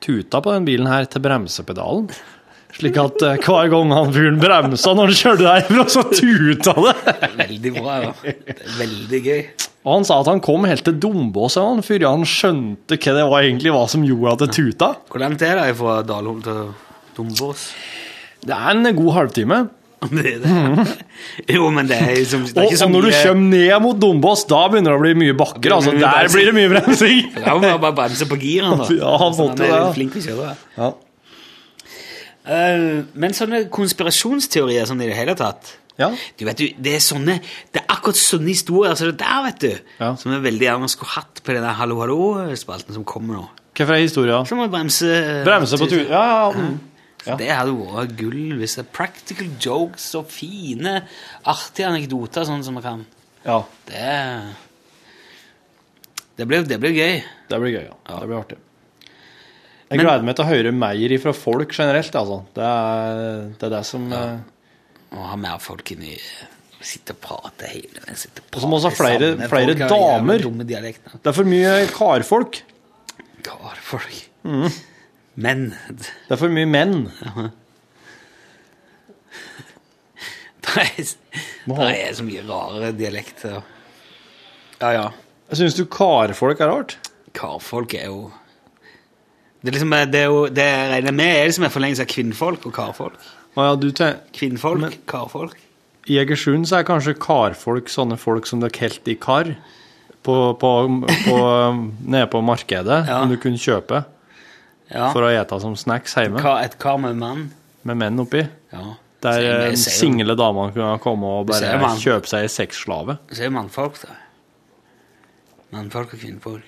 tuta på den bilen her til bremsepedalen. Slik at eh, hver gang han fyren bremsa når han kjørte derfra, så tuta det.
Veldig bra. Ja. Det er Veldig gøy.
Og han sa at han kom helt til dombås han, før han skjønte hva det var egentlig var som gjorde at det tuta.
Hvor langt er det fra Dalholm til Dombås?
Det er en god halvtime.
Det er det. Jo, men det er, som, det
Og,
er ikke så
og når du
mye-
kommer ned mot dombås, da begynner det å bli mye bakker. Altså,
Det blir mye
der
bremsing.
blir det mye bremsing.
Det er jo bare å bremse på giren, da. Sånn,
Ja, han måtte
er
det, ja.
flink til å kjøre.
Ja.
Eh, men sånne konspirasjonsteorier sånn i det hele tatt
Ja.
Du vet, du, det er sånne Det er akkurat sånne historier som det der, vet du.
Ja.
Som jeg veldig gjerne skulle hatt på den der Hallo, hallo-spalten som kommer nå.
Hva fra historia?
Så må jeg bremse
Bremse på tur. Ja, ja, ja. Mm. Ja.
Det hadde vært gull hvis det er practical jokes og fine, artige anekdoter sånn som man kan.
ja.
Det Det blir, det blir gøy.
Det blir gøy, ja. Det blir artig. Jeg gleder meg til å høre mer fra folk generelt, altså. Det er det, er det som eh,
Å ha mer folk inni Sitte og prate hele veien. sitte og
Og så må vi ha
prate
flere-
sammen.
flere
Folk har jævlig
damer.
Dumme dialekter.
Det er for mye karfolk.
Karfolk.
Mm.
Men det
Det er for mye menn.
er, det er så mye rare dialekter. Ja, ja.
Syns du karfolk er rart?
Karfolk er jo Det er liksom det er jo, det jeg regner med, er liksom en forlengelse av kvinnfolk og karfolk.
Å ja, du tenker
Kvinnfolk,
Men-
karfolk.
I Egersund så er kanskje karfolk sånne folk som dere helt i kar på, på, på, nede på markedet,
Ja.
som du kunne kjøpe
Ja.
for å ete som snacks hjemme,
Ka- Et kar med en mann.
med menn oppi.
Ja. Så
Der
jeg-
eh,
jeg sier jo-
single damer kunne komme og
Du
bare
ser jo mann.
kjøpe seg en sexslave.
Så er det mannfolk, da. Mannfolk og kvinnfolk.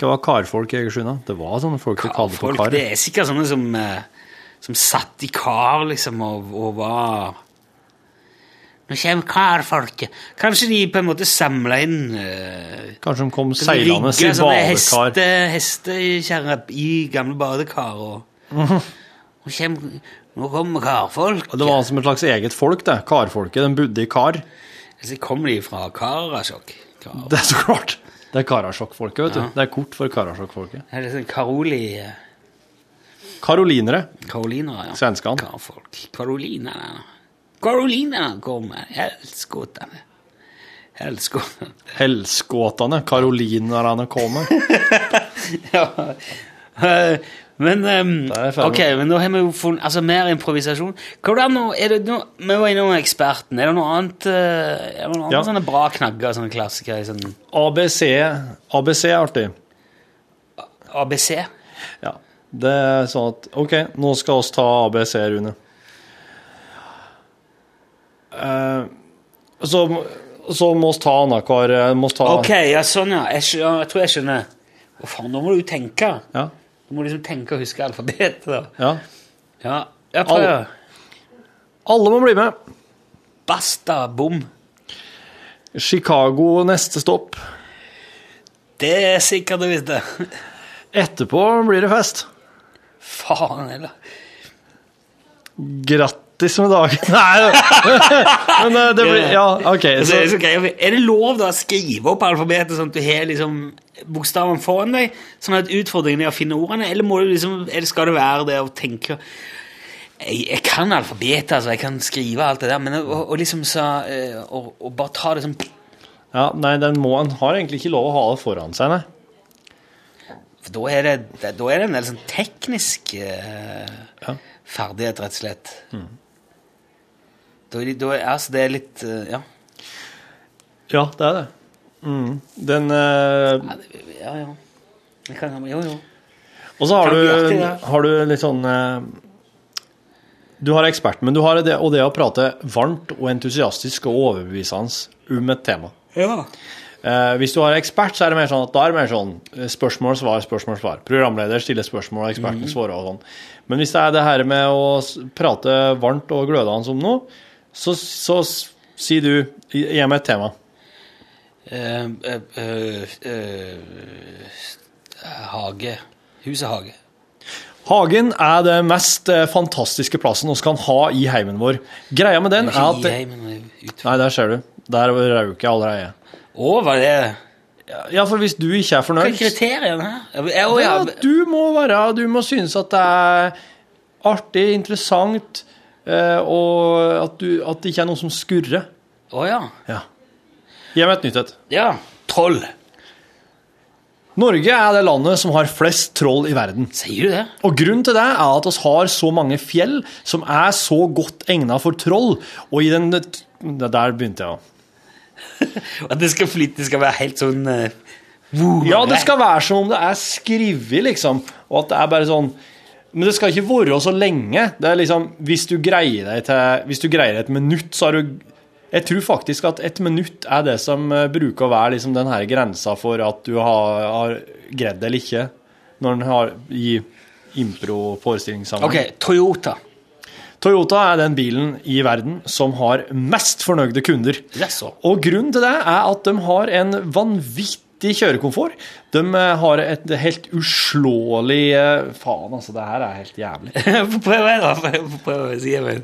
Hva var karfolk i Egersund, da? Det var sånne folk som kalte på
Folk,
kar.
det er sikkert sånne som, eh, som satt i kar, liksom, og, og var Nå kommer karfolket. Kanskje de på en måte samla inn eh,
Kanskje de kom
Kan du
seilende i
rigge sånne
badekar.
heste, hestekjerre i gamle badekar og Nå kommer, nå kommer karfolk.
Og Det var som et slags eget folk, det. Karfolket. De bodde i kar.
Altså, kommer de fra Karasjok? Kar.
Det er så klart. Det er Karasjok-folket, vet du.
Ja.
Det er kort for Karasjok-folket.
Er det sånn Karoli eh,
Karolinere.
Karolinere, ja.
Svenskene.
Karfolk. Karolinerne. Karolinerne kommer. Helskotene. Helskotene.
Helskåtene. Karolinerne kommer.
Ja. Eh, Men ehm,
Da er jeg ferdig.
ok, men nå har vi jo funnet altså, mer improvisasjon. Hvordan nå, er det, nå, Vi var innom eksperten. Er det noe annet eh, Er det noen
Ja.
andre sånne bra knagger, sånne klassikere? Sånn
ABC, ABC er artig.
ABC?
Ja. Det er sånn at OK, nå skal oss ta ABC, Rune. Eh, så, så må vi ta annenhver eh, må oss ta,
Ok, ja, sånn, ja. Jeg, skjø- ja, jeg tror jeg skjønner. Å, faen, nå må du jo tenke.
Ja.
Du må liksom tenke og huske alfabetet, da.
ja.
Ja, ja prøv.
Al- Alle må bli med.
Basta, bom.
Chicago neste stopp.
Det er sikkert du visste.
Etterpå blir det fest.
Faen heller.
Grattis med dagen. Nei, men eh, det blir Ja, OK.
Altså,
Så,
er, det så greit. er det lov da å skrive opp alfabetet sånn at du har liksom bokstavene foran deg, sånn at utfordringen er å finne ordene, eller, må du liksom, eller skal det være det å tenke jeg, jeg kan alfabetet, altså, jeg kan skrive alt det der, men å- å å liksom så eh, å- å bare ta det sånn
ja, nei, den må En har egentlig ikke lov å ha det foran seg, nei.
For da er det, det- da er det en del sånn teknisk eh,
Ja.
ferdighet, rett og slett. Da, er de- da er altså, det er litt eh, Ja.
Ja, det er det. Mm. Den eh,
Ja, det, ja, ja. Jeg kan, jo, jo.
Og så har
Kan bli
du,
artig, det.
har du litt sånn eh, Du har ekspert, men du har det, og det å prate varmt og entusiastisk og overbevisende om et tema.
Ja.
Eh, hvis du har ekspert, så er det mer sånn at da er det mer sånn eh, spørsmål, svar, spørsmål, svar. Programleder stiller spørsmål, og eksperten svarer og sånn. Men hvis det er det her med å s- prate varmt og glødende om noe, så, så s- sier du gi gi meg et tema.
Eh, eh, eh, eh, hage. Hus og hage.
Hagen er det mest eh, fantastiske plassen vi kan ha i heimen vår. Greia med den er
Ikke
at
i heimen, men ut.
Nei, der ser du. Der røyker jeg allerede.
Å, hva er det?
Ja, for hvis du ikke er
Hva
fornøyd
er kriteriene her? Ja, men- å,
ja,
ja.
Du må være Du må synes at det er artig, interessant, eh, og at, du, at det ikke er noe som skurrer.
Å, ja.
Ja. Gi meg et nytt et.
Ja. Troll.
Norge er det landet som har flest troll i verden.
Sier du det?
Og grunnen til det er at vi har så mange fjell som er så godt egnet for troll, og i den Der begynte jeg, ja.
At det skal flytte, det skal være helt sånn eh, wow,
Ja, det skal være som om det er skrevet, liksom. Og at det er bare sånn Men det skal ikke være så lenge. Det er liksom Hvis du greier deg til Hvis du greier et minutt, så har du Jeg tror faktisk at et minutt er det som eh, bruker å være liksom den her grensa for at du har, har greid det eller ikke. når en har i impro-forestillingssammenheng.
Ok, Toyota.
Toyota er den bilen i verden som har mest fornøyde kunder.
Jaså.
Og grunnen til det er at de har en vanvittig kjørekomfort. De eh, har et helt uslåelig eh, Faen, altså, det her er helt jævlig.
Få prøve, da. Få prøve, sier vi.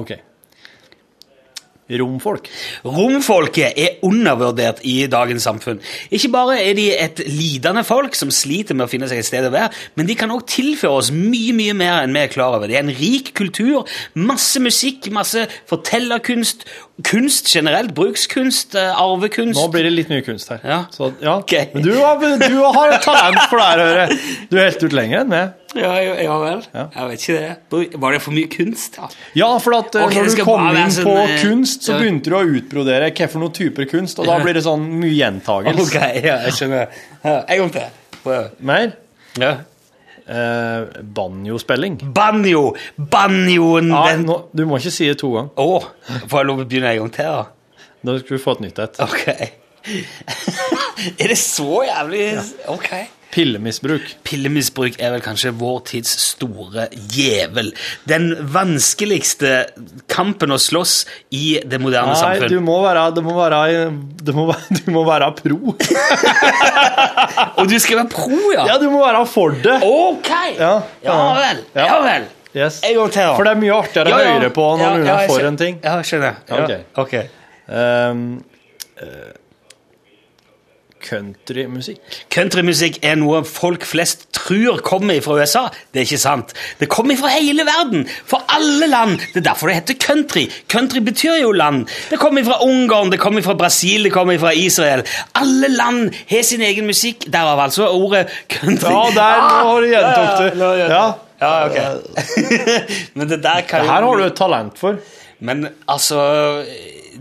Ok. Romfolk.
Romfolket er undervurdert i dagens samfunn. Ikke bare er de et lidende folk som sliter med å finne seg et sted å være, men de kan også tilføre oss mye mye mer enn vi er klar over. De er en rik kultur, masse musikk, masse fortellerkunst, kunst generelt, brukskunst, eh, arvekunst
Nå blir det litt mye kunst her.
Ja.
Så, ja.
Ok.
Men du, har- du har talent for det her, hører jeg. Du er helt ut lenger enn meg.
Ja, ja, ja vel.
Ja.
Jeg vet ikke det. Bru- Var det for mye kunst, da?
Ja, for at eh,
Ok, det
når du
skal
kom
bare være
inn
sånn,
på
eh,
kunst, så
ja.
begynte du å utbrodere hvilke noen typer kunst, og da
Ja.
blir det sånn mye gjentagelse.
Ok, ja, jeg skjønner. Ja, En gang til. Prøv.
Mer
Ja.
eh, banjospilling.
Banjo! Banjoen!
Nei,
den-
nå, du må ikke si det to ganger.
Å, får jeg lov å begynne en gang til, da?
Da skal du få et nytt et.
Ok. er det så jævlig Ok.
Pillemisbruk.
Pillemisbruk er vel kanskje vår tids store djevel. Den vanskeligste kampen å slåss i det moderne
Nei, du
samfunn.
må være Du må være, du må, være- du må være pro.
Og du skal være pro, ja?
Ja, du må være for det.
Ok! Ja,
Ja.
vel.
Ja.
Ja, vel.
Yes.
En gang til, da.
For det er mye artigere å høre på når du er for en ting.
Ja, jeg skjønner. Ja.
Ok.
ok.
Ehm, eh, Countrymusikk.
Countrymusikk er noe folk flest tror kommer fra USA. Det er ikke sant. Det kommer fra hele verden, fra alle land. Det er derfor det heter country. Country betyr jo land. Det kommer fra Ungarn, det kommer fra Brasil, det kommer fra Israel. Alle land har sin egen musikk. Derav altså ordet country.
Ja, der
Ah!
nå har du gjentok det.
Ja, ja, ja.
Ja.
Ja, ok. Men det der kan
Det her har du et talent for.
Men altså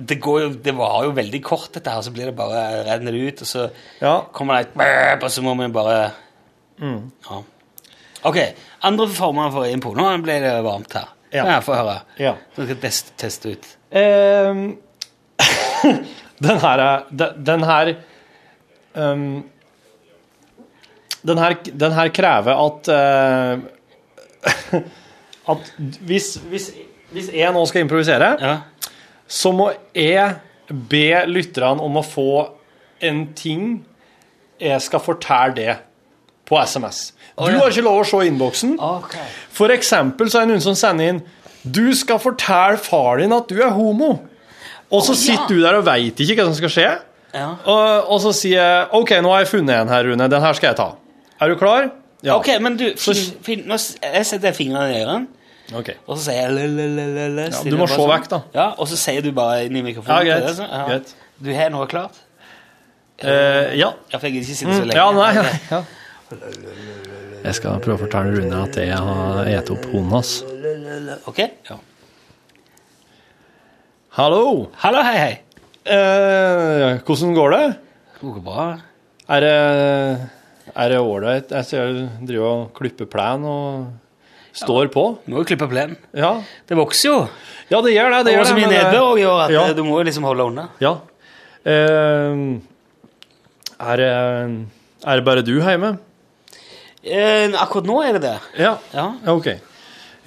det, går jo, det var jo veldig kort, dette her, så blir det bare renner det ut, og så
Ja.
kommer det et brrp, og så må vi bare
Mm.
ja. Ok, andre former for innpå. Nå ble det varmt her.
Ja.
Ja, Få høre.
Ja.
Så skal jeg test, teste ut.
Ehm, den her er de- Den her ehm, den her, den her krever at eh, At hvis, hvis, hvis jeg nå skal improvisere,
Ja.
så må jeg be lytterne om å få en ting jeg skal fortelle det på SMS. Du
ja.
har ikke lov å se innboksen. For eksempel så er det noen som sender inn Du skal fortelle far din at du er homo. Og så
Å, ja.
sitter du der og veit ikke hva som skal skje.
Ja.
Og, og så sier jeg OK, nå har jeg funnet en her, Rune. Den her skal jeg ta. Er du klar? Ja.
Ok, men du, fin, fin, nå, s- jeg setter fingrene i ørene,
Ok.
og så sier jeg le-le-le-le
du må se vekk, da.
sånn. Ja, og så sier du bare inn i
Ja,
mikrofonen. til
greit.
det, så- ja.
greit.
Du har noe klart?
Eh, ja.
Ja, for jeg gidder ikke sitte så lenge.
Mm. Ja, nei, ja. Jeg skal prøve å fortelle Rune at jeg har spist opp hunden hans.
Ok? Ja.
Hallo!
Hallo, hei, hei.
Eh, hvordan går det?
Det går bra.
Er det er det ålreit? Jeg ser du driver og klipper plen og står på.
Må jo klippe plenen.
Ja,
Det vokser jo.
ja det gjør det.
Det
Det
var
gjør
så
det.
mye
men det-
nedbør også i år at
Ja.
eh, du må jo liksom holde unna.
Ja. Eh, er, det, er det bare du hjemme?
Eh, akkurat nå er det det.
Ja.
Ja.
Ok.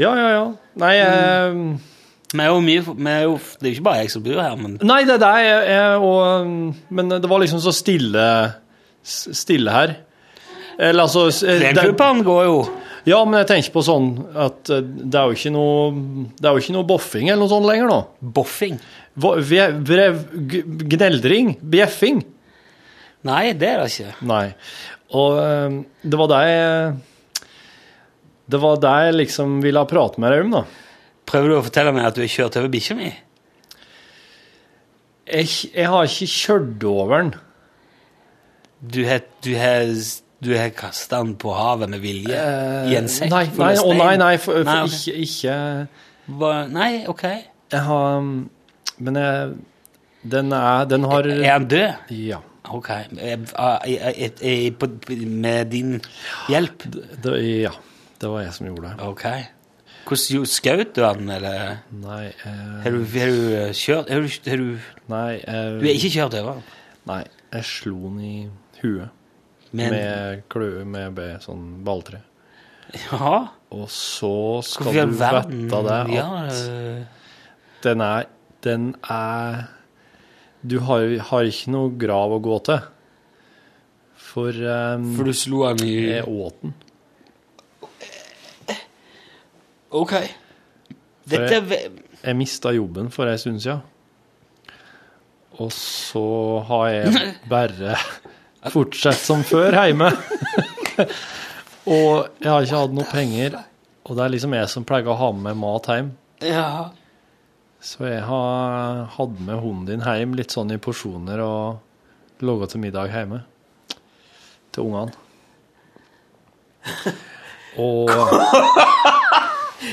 Ja, ja, ja. Nei eh,
Mm. Vi er jo mye, vi er jo, det er jo ikke bare jeg som bor her, men
Nei, det er deg, jeg- jeg- og um, Men det var liksom så stille s- Stille her. Eller altså s- eh, det,
plenklubben går jo.
Ja, men jeg tenker på sånn at eh, det er jo ikke noe Det er jo ikke noe boffing eller noe sånt lenger nå.
Boffing.
Hva- ve- brev- g- Gneldring. Bjeffing.
Nei, det er det ikke.
Nei. Og eh, det var det jeg Det var det jeg liksom ville prate med deg om, da.
Prøver du å fortelle meg at du har kjørt over bikkja mi?
Jeg, jeg har ikke kjørt over den.
Du har, du har, du har kastet den på havet med vilje? I en sekk
Eh, Nei,
full av
nei, å,
stein?
nei, nei, for, for
Nei, ok.
ikke, ikke
Hva, nei, ok.
Jeg har Men jeg, den, er, den har
Er han død?
Ja.
Ok. Eh, ah, i- i- i- på- Med din hjelp?
Det, ja. det var jeg som gjorde det.
Ok. Hvordan jo- skjøt du han, eller?
Nei eh,
Har du, har du eh, kjørt har du, har du,
Nei, eh,
du er ikke kjørt over han?
nei jeg slo den i huet.
Men-
med kløe med be- sånn balltre.
Ja.
Og så skal
Hvorfor i all
du
verden
vite det at
Ja, øh,
den er, den er Du har, har ikke noe grav å gå til. For, um,
for du slo han i
jeg åt den.
Ok. Dette er ve-
Jeg mista jobben for ei stund sia. Og så har jeg bare fortsatt som før hjemme. og jeg har ikke hatt noe penger. Og det er liksom jeg som pleier å ha med meg mat hjem.
Ja.
Så jeg har hatt med hunden din hjem litt sånn i porsjoner og laga til middag hjemme. Til ungene. Og,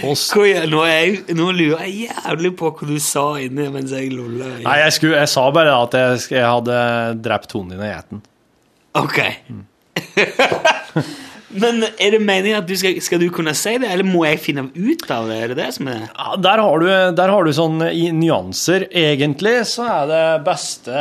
og s-
Hva gjør- Nå, er jeg, nå lurer jeg jævlig på hva du sa inne mens jeg lolla.
Nei, jeg, skulle, jeg sa bare at jeg, sk- jeg hadde drept hunden din og spist den.
Ok.
Mm.
Men er det meningen at du skal, skal du kunne si det, eller må jeg finne ut av det? Er det det som er
Ja, der, har du, der har du sånn i nyanser. Egentlig så er det beste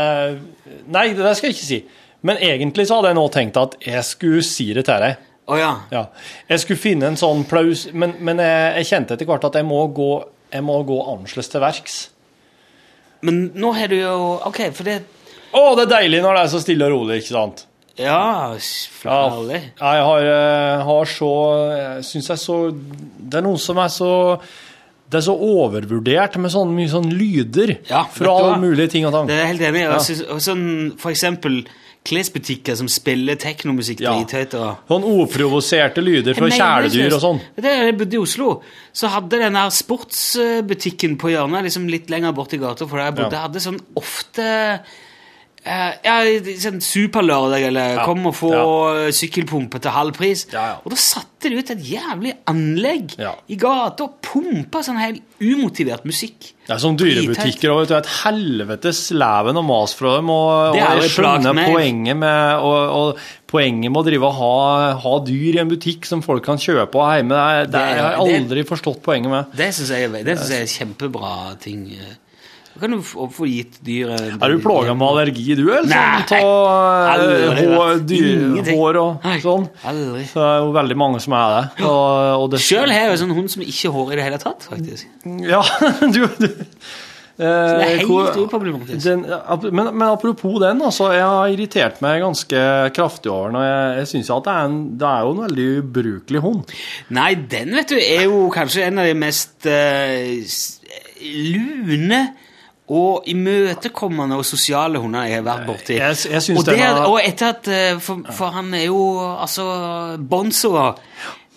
Nei, det der skal jeg ikke si. Men egentlig så hadde jeg nå tenkt at jeg skulle si det til deg.
Å ja.
Ja. Jeg skulle finne en sånn plaus, men, men jeg, jeg kjente etter hvert at jeg må gå, jeg må gå annerledes til verks.
Men nå har du jo Ok, for det
Å, det er deilig når det er så stille og rolig, ikke sant?
Ja,
Ja,
flalle.
jeg har, eh, har så Jeg syns jeg så Det er noe som er så Det er så overvurdert med sånn mye sånn lyder
Ja, vet
fra
du
alle
hva?
mulige ting og tang.
Det er jeg helt enig i.
Ja.
Og så- og Sånn, for eksempel klesbutikker som spiller teknomusikk
Ja.
drithøyt. og...
Sånn uprovoserte lyder fra
Jeg mener det,
kjæledyr og sånn.
seriøst. Det er, jeg bodde i Oslo, så hadde den her sportsbutikken på hjørnet liksom litt lenger bort i gata, for der jeg bodde,
Ja.
hadde sånn ofte eh, ja, sånn Superlørdag eller
Ja.
kom og få sykkelpumpe til halv pris.
Ja, ja.
Og da satte de ut et jævlig anlegg
Ja.
i gata og pumpa sånn helt umotivert musikk.
Det er som sånn dyrebutikker òg. Et helvetes leven og mas fra dem. Og, og
Det er jo
jeg
et plagt
skjønner
med-
poenget med, og, og poenget med å drive og ha, ha dyr i en butikk som folk kan kjøpe og hjemme. Det, er- det
Det er-
har jeg aldri forstått poenget med.
Det syns jeg, er- det synes jeg er kjempebra ting. Da kan du få få gitt eh, dyret
Er du plaga med allergi, du, eller?
Nei.
Sånn, ta, eh,
Aldri
hår,
vært.
dyr,
Ingenting.
hår og
Nei,
sånn.
Aldri.
Så det er jo veldig mange som er det. Og, og det
Sjøl har jeg jo sånn hund som ikke har hår i det hele tatt, faktisk.
Ja, du, du.
Det er
Eh, hvor-
helt uproblematisk.
Den, ap- men, men apropos den, altså, jeg har irritert meg ganske kraftig over den, og jeg, jeg syns jo at det er, en, det er jo en veldig ubrukelig hund.
Nei, den vet du er jo kanskje en av de mest eh, s- lune og imøtekommende og sosiale hundene jeg har vært borti.
Jeg, jeg syns
Og, det,
den er
og etter at eh, for, for han er jo Altså, Bonzo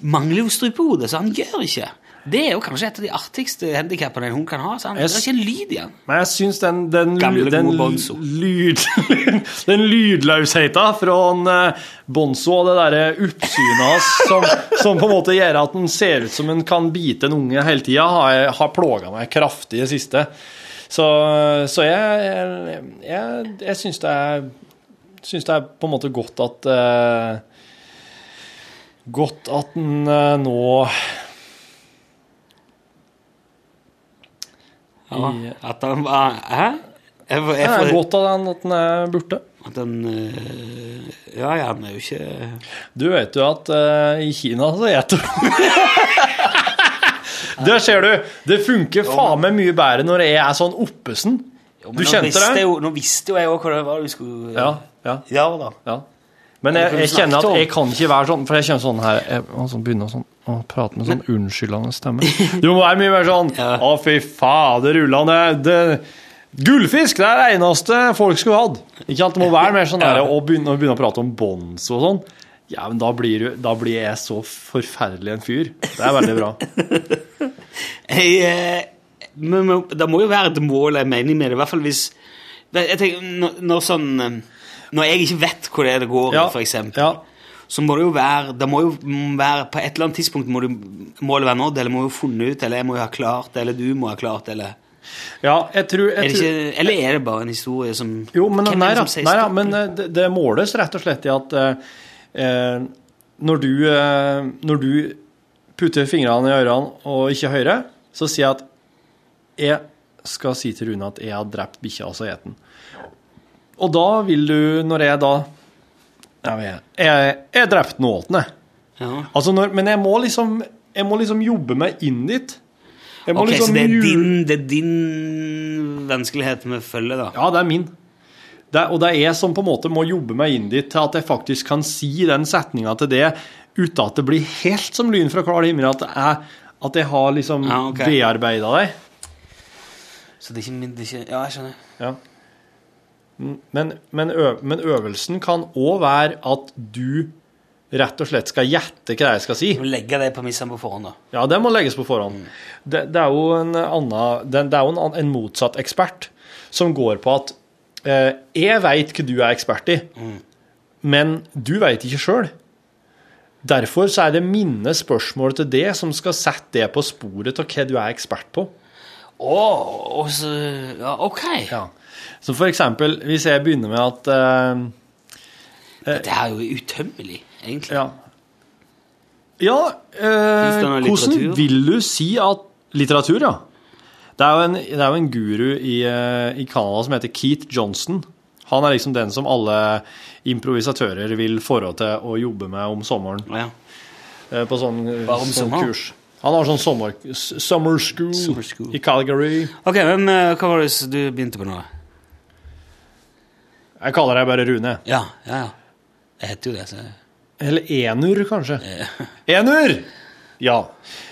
mangler jo strupehode, så han gjør ikke. Det er jo kanskje et av de artigste handikappene en hund kan ha. Så han,
Jeg
det er ikke en lyd i han.
Men jeg syns den, den, ly-
Gamle, gode
den,
Bonzo.
lyd, den lydløsheta fra han, eh, Bonzo og det derre oppsynet hans som, som på en måte gjør at den ser ut som en kan bite en unge hele tida, har, jeg- har plaga meg kraftig i det siste. Så, så jeg, jeg, jeg, jeg syns det er Syns det er på en måte godt at eh, Godt at den eh, nå
Ja,
I-
at han var Hæ? Jeg, får-
Det
jeg,
er
får-
godt at den, at den er borte.
at han eh, Ja, ja, han er jo ikke
Du vet jo at eh, i Kina så gjeter de. Der ser du! Det funker faen meg mye bedre når jeg er sånn oppesen.
Jo, men
Du
nå
kjente
visste
det?
Jo, nå visste jo jeg òg hva det var du skulle
Ja, ja,
ja da.
ja. Men jeg, jeg kjenner at jeg kan ikke være sånn, for jeg kjenner sånn her Jeg må sånn begynne å sånn, å prate med sånn unnskyldende stemme. Du må være mye mer sånn
Ja.
Å, fy fader, rullende det, Gullfisk! Det er det eneste folk skulle hatt. Ikke sant? Det må være mer sånn der,
Ja.
og begynne, å begynne å prate om bonds og sånn. Ja, men da blir, du- da blir jeg så forferdelig en fyr. Det er veldig bra.
Jeg, eh, men, men det må jo være et mål, en mening med det, i hvert fall hvis jeg tenker, når, når sånn eh, Når jeg ikke vet hvor det er det går, i, for eksempel,
Ja.
så må det jo være Det må jo være På et eller annet tidspunkt må du, målet være nådd, eller må jo funnet ut, eller jeg må jo ha klart, eller du må ha klart, eller
ja, jeg tror,
er
jeg
det
tror
ikke, Eller er det bare en historie som
Jo, men,
Hvem er det
nei, da,
som sier
nei, da,
stopp?
men eh, det, det måles rett og slett i at eh, eh, når, du, eh, når du putter fingrene i ørene og ikke hører, så sier jeg at jeg skal si til Rune at jeg har drept bikkja, altså et den. Og da vil du, når jeg da Jeg, vet- jeg, jeg drepte nålene.
Ja.
Altså når, men jeg må, liksom, jeg må liksom jobbe meg inn dit. Jeg må
Ok,
liksom
så det er,
jul-
din, det er din vanskelighet med følge, da.
Ja, det er min. Det er, og det er jeg som på en måte må jobbe meg inn dit til at jeg faktisk kan si den setninga til det uten at det blir helt som lyn fra klar himmel, at jeg, at jeg har liksom
Ja, ok.
bearbeida deg.
Så det er ikke min det er ikke, Ja, jeg skjønner.
Ja. Mm, Men, men, øv, men øvelsen kan òg være at du rett og slett skal gjette hva jeg skal si.
Du må legge de premissene på forhånd, da.
Ja, det må legges på forhånd. Det, det er jo en, annen, det, det er jo en, ann- en motsatt ekspert som går på at eh, jeg veit hva du er ekspert i, men du veit ikke sjøl. Derfor så er det mine spørsmål til det som skal sette det på sporet av hva du er ekspert på.
Å, og så Ja, OK.
Ja. Så for eksempel, hvis jeg begynner med at eh,
Dette her er jo utømmelig, egentlig.
Ja. Ja,
Finnes
eh,
det noe
hvordan
litteratur?
vil du si at Litteratur, ja. Det er jo en, det er jo en guru i, eh, i Canada som heter Keith Johnson. Han er liksom den som alle improvisatører vil forå til å jobbe med om sommeren.
Ja.
eh, På sånn,
Bare om
sånn
sommeren?
kurs. Han har sånn sommer, s- summer, school
Summer school.
i Calgary.
OK, men eh, hva var det s- du begynte på nå?
Jeg kaller deg bare Rune.
Ja, ja, ja. Jeg heter jo det, så
Eller Enur, kanskje.
Eh.
Enur! Ja.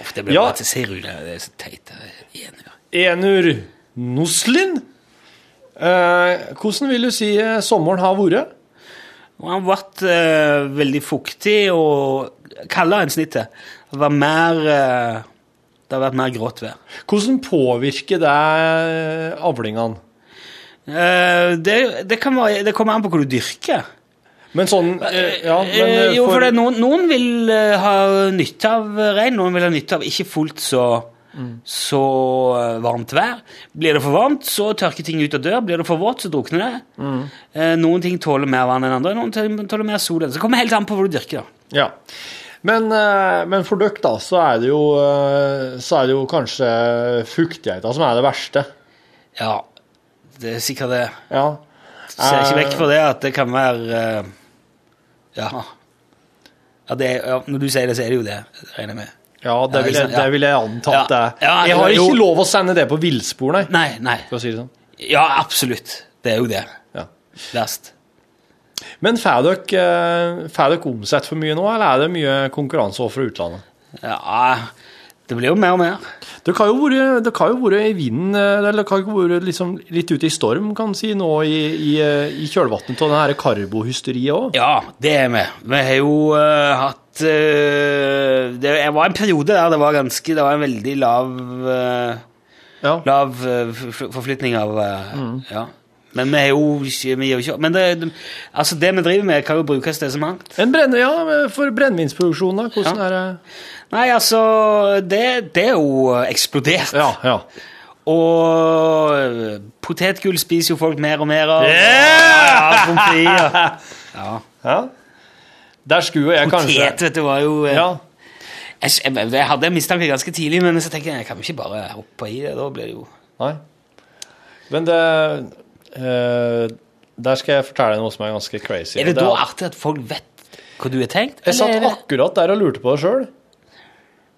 Uff, det ble
Ja.
bare til Serud. Det er så teit. det er Igjen, ja.
Enur Noslin. Eh, hvordan vil du si eh, sommeren har vært?
Og han ble eh, veldig fuktig og kaldere enn snittet. Det var mer eh, Det har vært mer grått vær.
Hvordan påvirker det avlingene?
Eh, det, det, kan være, det kommer an på hva du dyrker.
Men sånn eh, Ja, men
Eh,
eh,
jo, for det, er noen, noen vil eh, ha nytte av regn, noen vil ha nytte av ikke fullt så, så eh, varmt vær. Blir det for varmt, så tørker ting ut og dør. Blir det for vått, så drukner det. Eh, noen ting tåler mer vann enn andre, noen ting tåler mer sol. enn- Så det kommer helt an på hva du dyrker. da.
Ja. Men, eh, men for dere, da, så er det jo eh, Så er det jo kanskje fuktigheten som er det verste.
Ja, det er sikkert det.
Ja.
Ser ikke
Eh,
vekk fra det at det kan være eh, Ja. Ja, det, er- ja. Når du sier det, så er det jo det. det regner jeg med.
Ja, det
Ja,
vil jeg,
liksom, ja.
det vil jeg anta at det
Ja.
er.
Ja,
Jeg har
jo.
ikke lov å sende det på villspor, nei.
Nei, nei.
For å si det sånn.
Ja, absolutt. Det er jo det.
Ja.
Verst.
Men får dere, eh, får dere omsett for mye nå, eller er det mye konkurranse også fra utlandet?
Ja, det blir jo mer og mer.
Dere har jo vært, dere har jo vært i vinden, eh, eller dere har jo vært liksom litt ute i storm, kan man si, nå i, i, eh, i kjølvannet av det her karbohysteriet òg.
Ja, det er vi. Vi har jo eh, hatt eh, Det jeg var en periode der det var ganske Det var en veldig lav eh,
Ja.
Lav eh, forf- forflytning av eh,
Mm.
Ja. Men vi er jo ikke, vi er jo ikke Men det, det- altså det vi driver med, kan jo brukes til så mangt.
En brenne, ja, for brennevinsproduksjon, da. Hvordan
Ja.
er det
Nei, altså Det, det er jo eksplodert.
Ja, ja.
Og potetgull spiser jo folk mer og mer av.
Yeah!
Ja, pommes frites. Ja.
ja. Der skulle jo jeg kanskje
Potet, vet du, var jo eh,
Ja.
Jeg, jeg, jeg hadde en mistanke ganske tidlig, men så tenker jeg jeg kan jo ikke bare hoppe i det. Da blir det jo
Nei. Men det eh, Der skal jeg fortelle deg noe som er ganske crazy.
Er det
og
da
er at-
artig at folk vet hva du har tenkt?
jeg
Eller
satt
er det
akkurat der og lurte på det sjøl.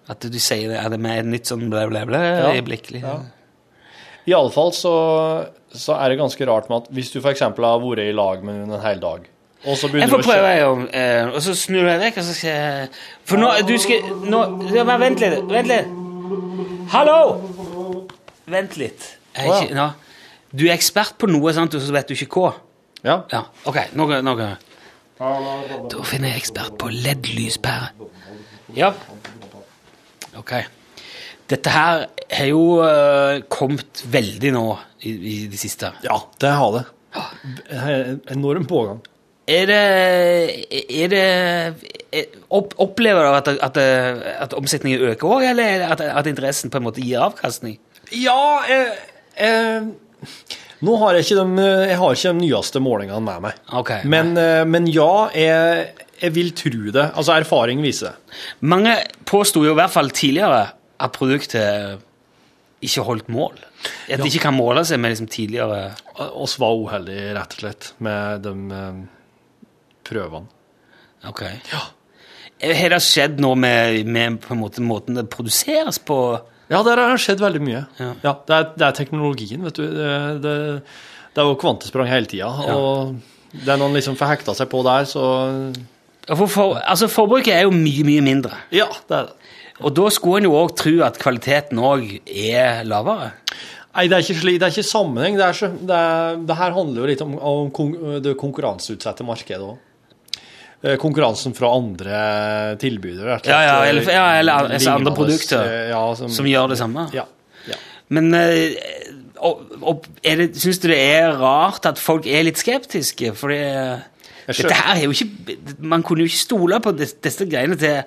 at du sier det, er det med et nytt sånn blæ, blæ, blæ
Ja,
øyeblikkelig?
ja. Iallfall så, så er det ganske rart med at hvis du f.eks. har vært i lag med noen en hel dag og så
Jeg
begynner
får
du å
prøve,
kjenne-
jeg, om, eh, og så snur du deg vekk, og så skal jeg For nå Du skal nå, ja, men Vent litt. Vent litt. Hallo! Vent litt. Jeg, er
Å, ja.
ikke, nå. Du er ekspert på noe, sant, og så vet du ikke hva.
Ja.
Ja, OK. Nå kan nå kan jeg Da finner jeg ekspert på LED-lyspære. Ja. OK. Dette her har jo eh, kommet veldig nå i, i det siste.
ja, det har det. En Enorm pågang.
Er det, er det er, opp, Opplever du at, at, at omsetningen øker òg, eller at, at interessen på en måte gir avkastning?
Ja, eh, eh, Nå har jeg ikke de, jeg har ikke de nyeste målingene med meg.
Ok.
Men, eh, men ja, jeg, jeg vil tro det. Altså, erfaring viser det.
Mange påsto jo i hvert fall tidligere at produktet ikke holdt mål. At det ikke kan måle seg med liksom tidligere
oss var uheldige, rett og slett, med de eh, prøvene.
Ok. Eh, Har det skjedd noe med, med på en måte, måten det produseres på?
Ja, der har det skjedd veldig mye. Ja.
Ja.
det, er, det er teknologien, vet du. Det, det, det er jo kvantesprang hele tida. Og det er noen liksom får hekta seg på der, så
Ja, For, for, altså, forbruket er jo mye, mye mindre.
Ja, det er det.
Og da skulle en jo òg tro at kvaliteten òg er lavere.
Nei, det er ikke, slik, det er ikke sammenheng. Det, er så, det, er, det her handler jo litt om, om kon, det konkurranseutsatte markedet òg. Konkurransen fra andre tilbydere. rett og slett.
Ja, ja, eller- ja, eller an- altså
Lignende,
andre produkter
Ja, som,
Som gjør det samme.
ja, ja.
Men eh, og, og, er det, syns du det er rart at folk er litt skeptiske? For det,
Jeg skjønner.
dette her er jo ikke Man kunne jo ikke stole på dis- disse greiene til,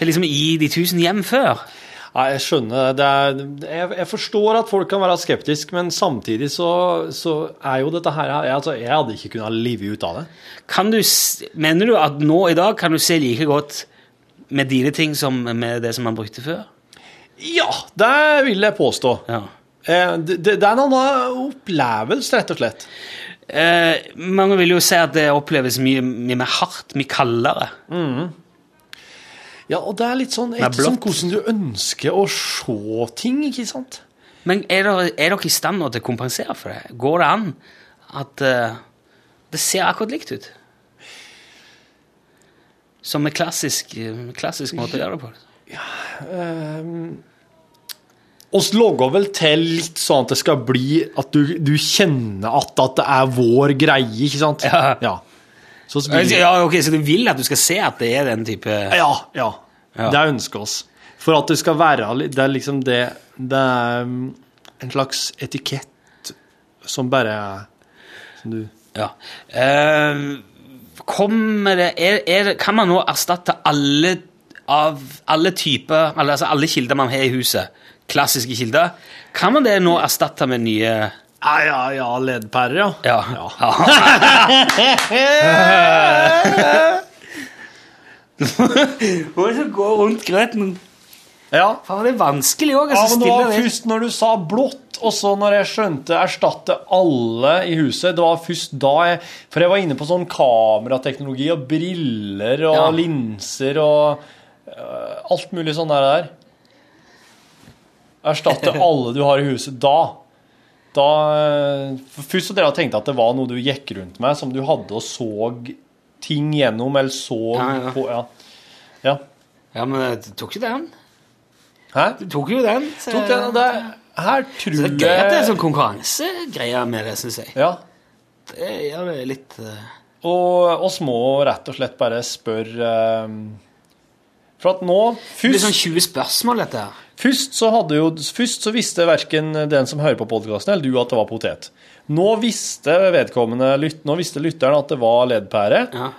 til liksom i de tusen hjem før.
Nei, jeg skjønner det. Er, jeg, jeg forstår at folk kan være skeptiske, men samtidig så, så er jo dette her jeg, altså, jeg hadde ikke kunnet leve ut av det.
Kan du, s- mener du at nå i dag kan du se like godt med dine ting som med det som man brukte før?
Ja, det vil jeg påstå.
Ja.
Eh, det, det det er en annen opplevelse, rett og slett.
Eh, mange vil jo si at det oppleves mye, mye mer hardt, mye kaldere.
Ja, og det er litt sånn
er
etter sånn
blått.
hvordan du ønsker å se ting, ikke sant?
Men er dere, er dere i stand nå til å kompensere for det? Går det an at eh, det ser akkurat likt ut? Som en klassisk, eh, klassisk måte å gjøre det på.
Oss logger vel til litt sånn at det skal bli at du, du kjenner at, at det er vår greie, ikke sant?
Ja.
Så så blir det-
Ja, ok, Så du vil at du skal se at det er den type
Ja, ja.
Eh, Ja.
Det ønsker oss. For at det skal være li- Det er liksom det Det er um, en slags etikett som bare Som du
Ja. Eh, kommer det, er, er, det- kan man nå erstatte alle av alle typer alle- Altså alle kilder man har i huset, klassiske kilder, kan man det nå erstatte med nye
Ja, ja, ja, leddpærer, ja.
Ja. Hva er det som går rundt grøten?
ja.
Faen, det er vanskelig òg.
Ja,
Altså,
men det var
stille det.
først når du sa blått, og så når jeg skjønte 'erstatte alle i huset' Det var først da jeg For jeg var inne på sånn kamerateknologi og briller og
Ja.
linser og øh, alt mulig sånn der. der. Erstatte alle du har i huset da. Da øh, for Først så drev jeg og tenkte at det var noe du gikk rundt med, som du hadde og så ting gjennom, eller så
Ja, ja.
på Ja. ja.
Ja, men du tok jo den.
Hæ?
Du tok jo den. Så,
Tok den, og det, her tror
så
jeg
det er gøy at det er sånn konkurransegreier med det, syns jeg.
Ja.
Det gjør det litt eh,
Og oss må rett og slett bare spørre ehm, For at nå
Det blir sånn
først,
20 spørsmål, dette her.
først så hadde jo Først så visste verken den som hører på podkasten, eller du at det var potet. Nå visste vedkommende lytt, Nå visste lytteren at det var leddpære.
Ja.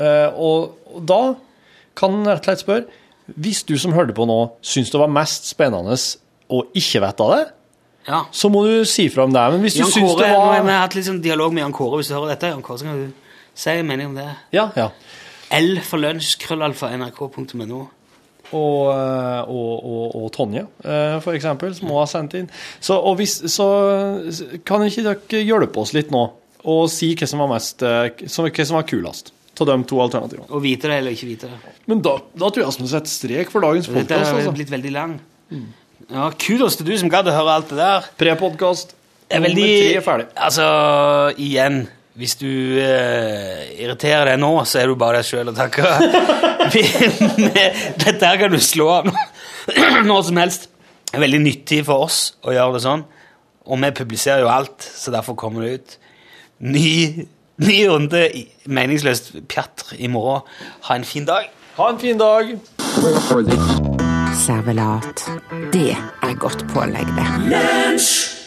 Eh, og, og da kan en rett og slett spørre Hvis du som hørte på nå, syns det var mest spennende å ikke vite av det,
ja.
så må du si fra om det. Men hvis du
Jan
syns
Kåre,
det
nå har vi
var
hatt litt sånn dialog med Jan Kåre. Hvis du hører dette, Jan Kåre, så kan du si en mening om det.
Ja, ja.
L for lunsj, krøllalfa, nrk.no.
og, eh, og, og, og Tonje, eh, for eksempel, som også har sendt inn. Så, og hvis, så kan ikke dere hjelpe oss litt nå og si hva som var, mest, eh, som, hva som var kulest av de to alternativene.
Og vite det eller ikke vite det.
Men da, da tror jeg vi må sette strek for dagens
Dette
podkast.
har
Altså. Mm.
blitt veldig lang. Ja, kudos til du som gadd å høre alt det der.
Pre-podkast
Det er
nummer
veldig
tre er ferdig.
Altså, igjen hvis du eh, irriterer deg nå, så er du bare deg sjøl å takke. Vi- Dette her kan du slå av når som helst. Det er veldig nyttig for oss å gjøre det sånn. Og vi publiserer jo alt, så derfor kommer det ut. Ny, ny runde i- meningsløst pjatter i morgen. Ha en fin dag.
Ha en fin dag.
Servelat. Det er godt pålegg, det.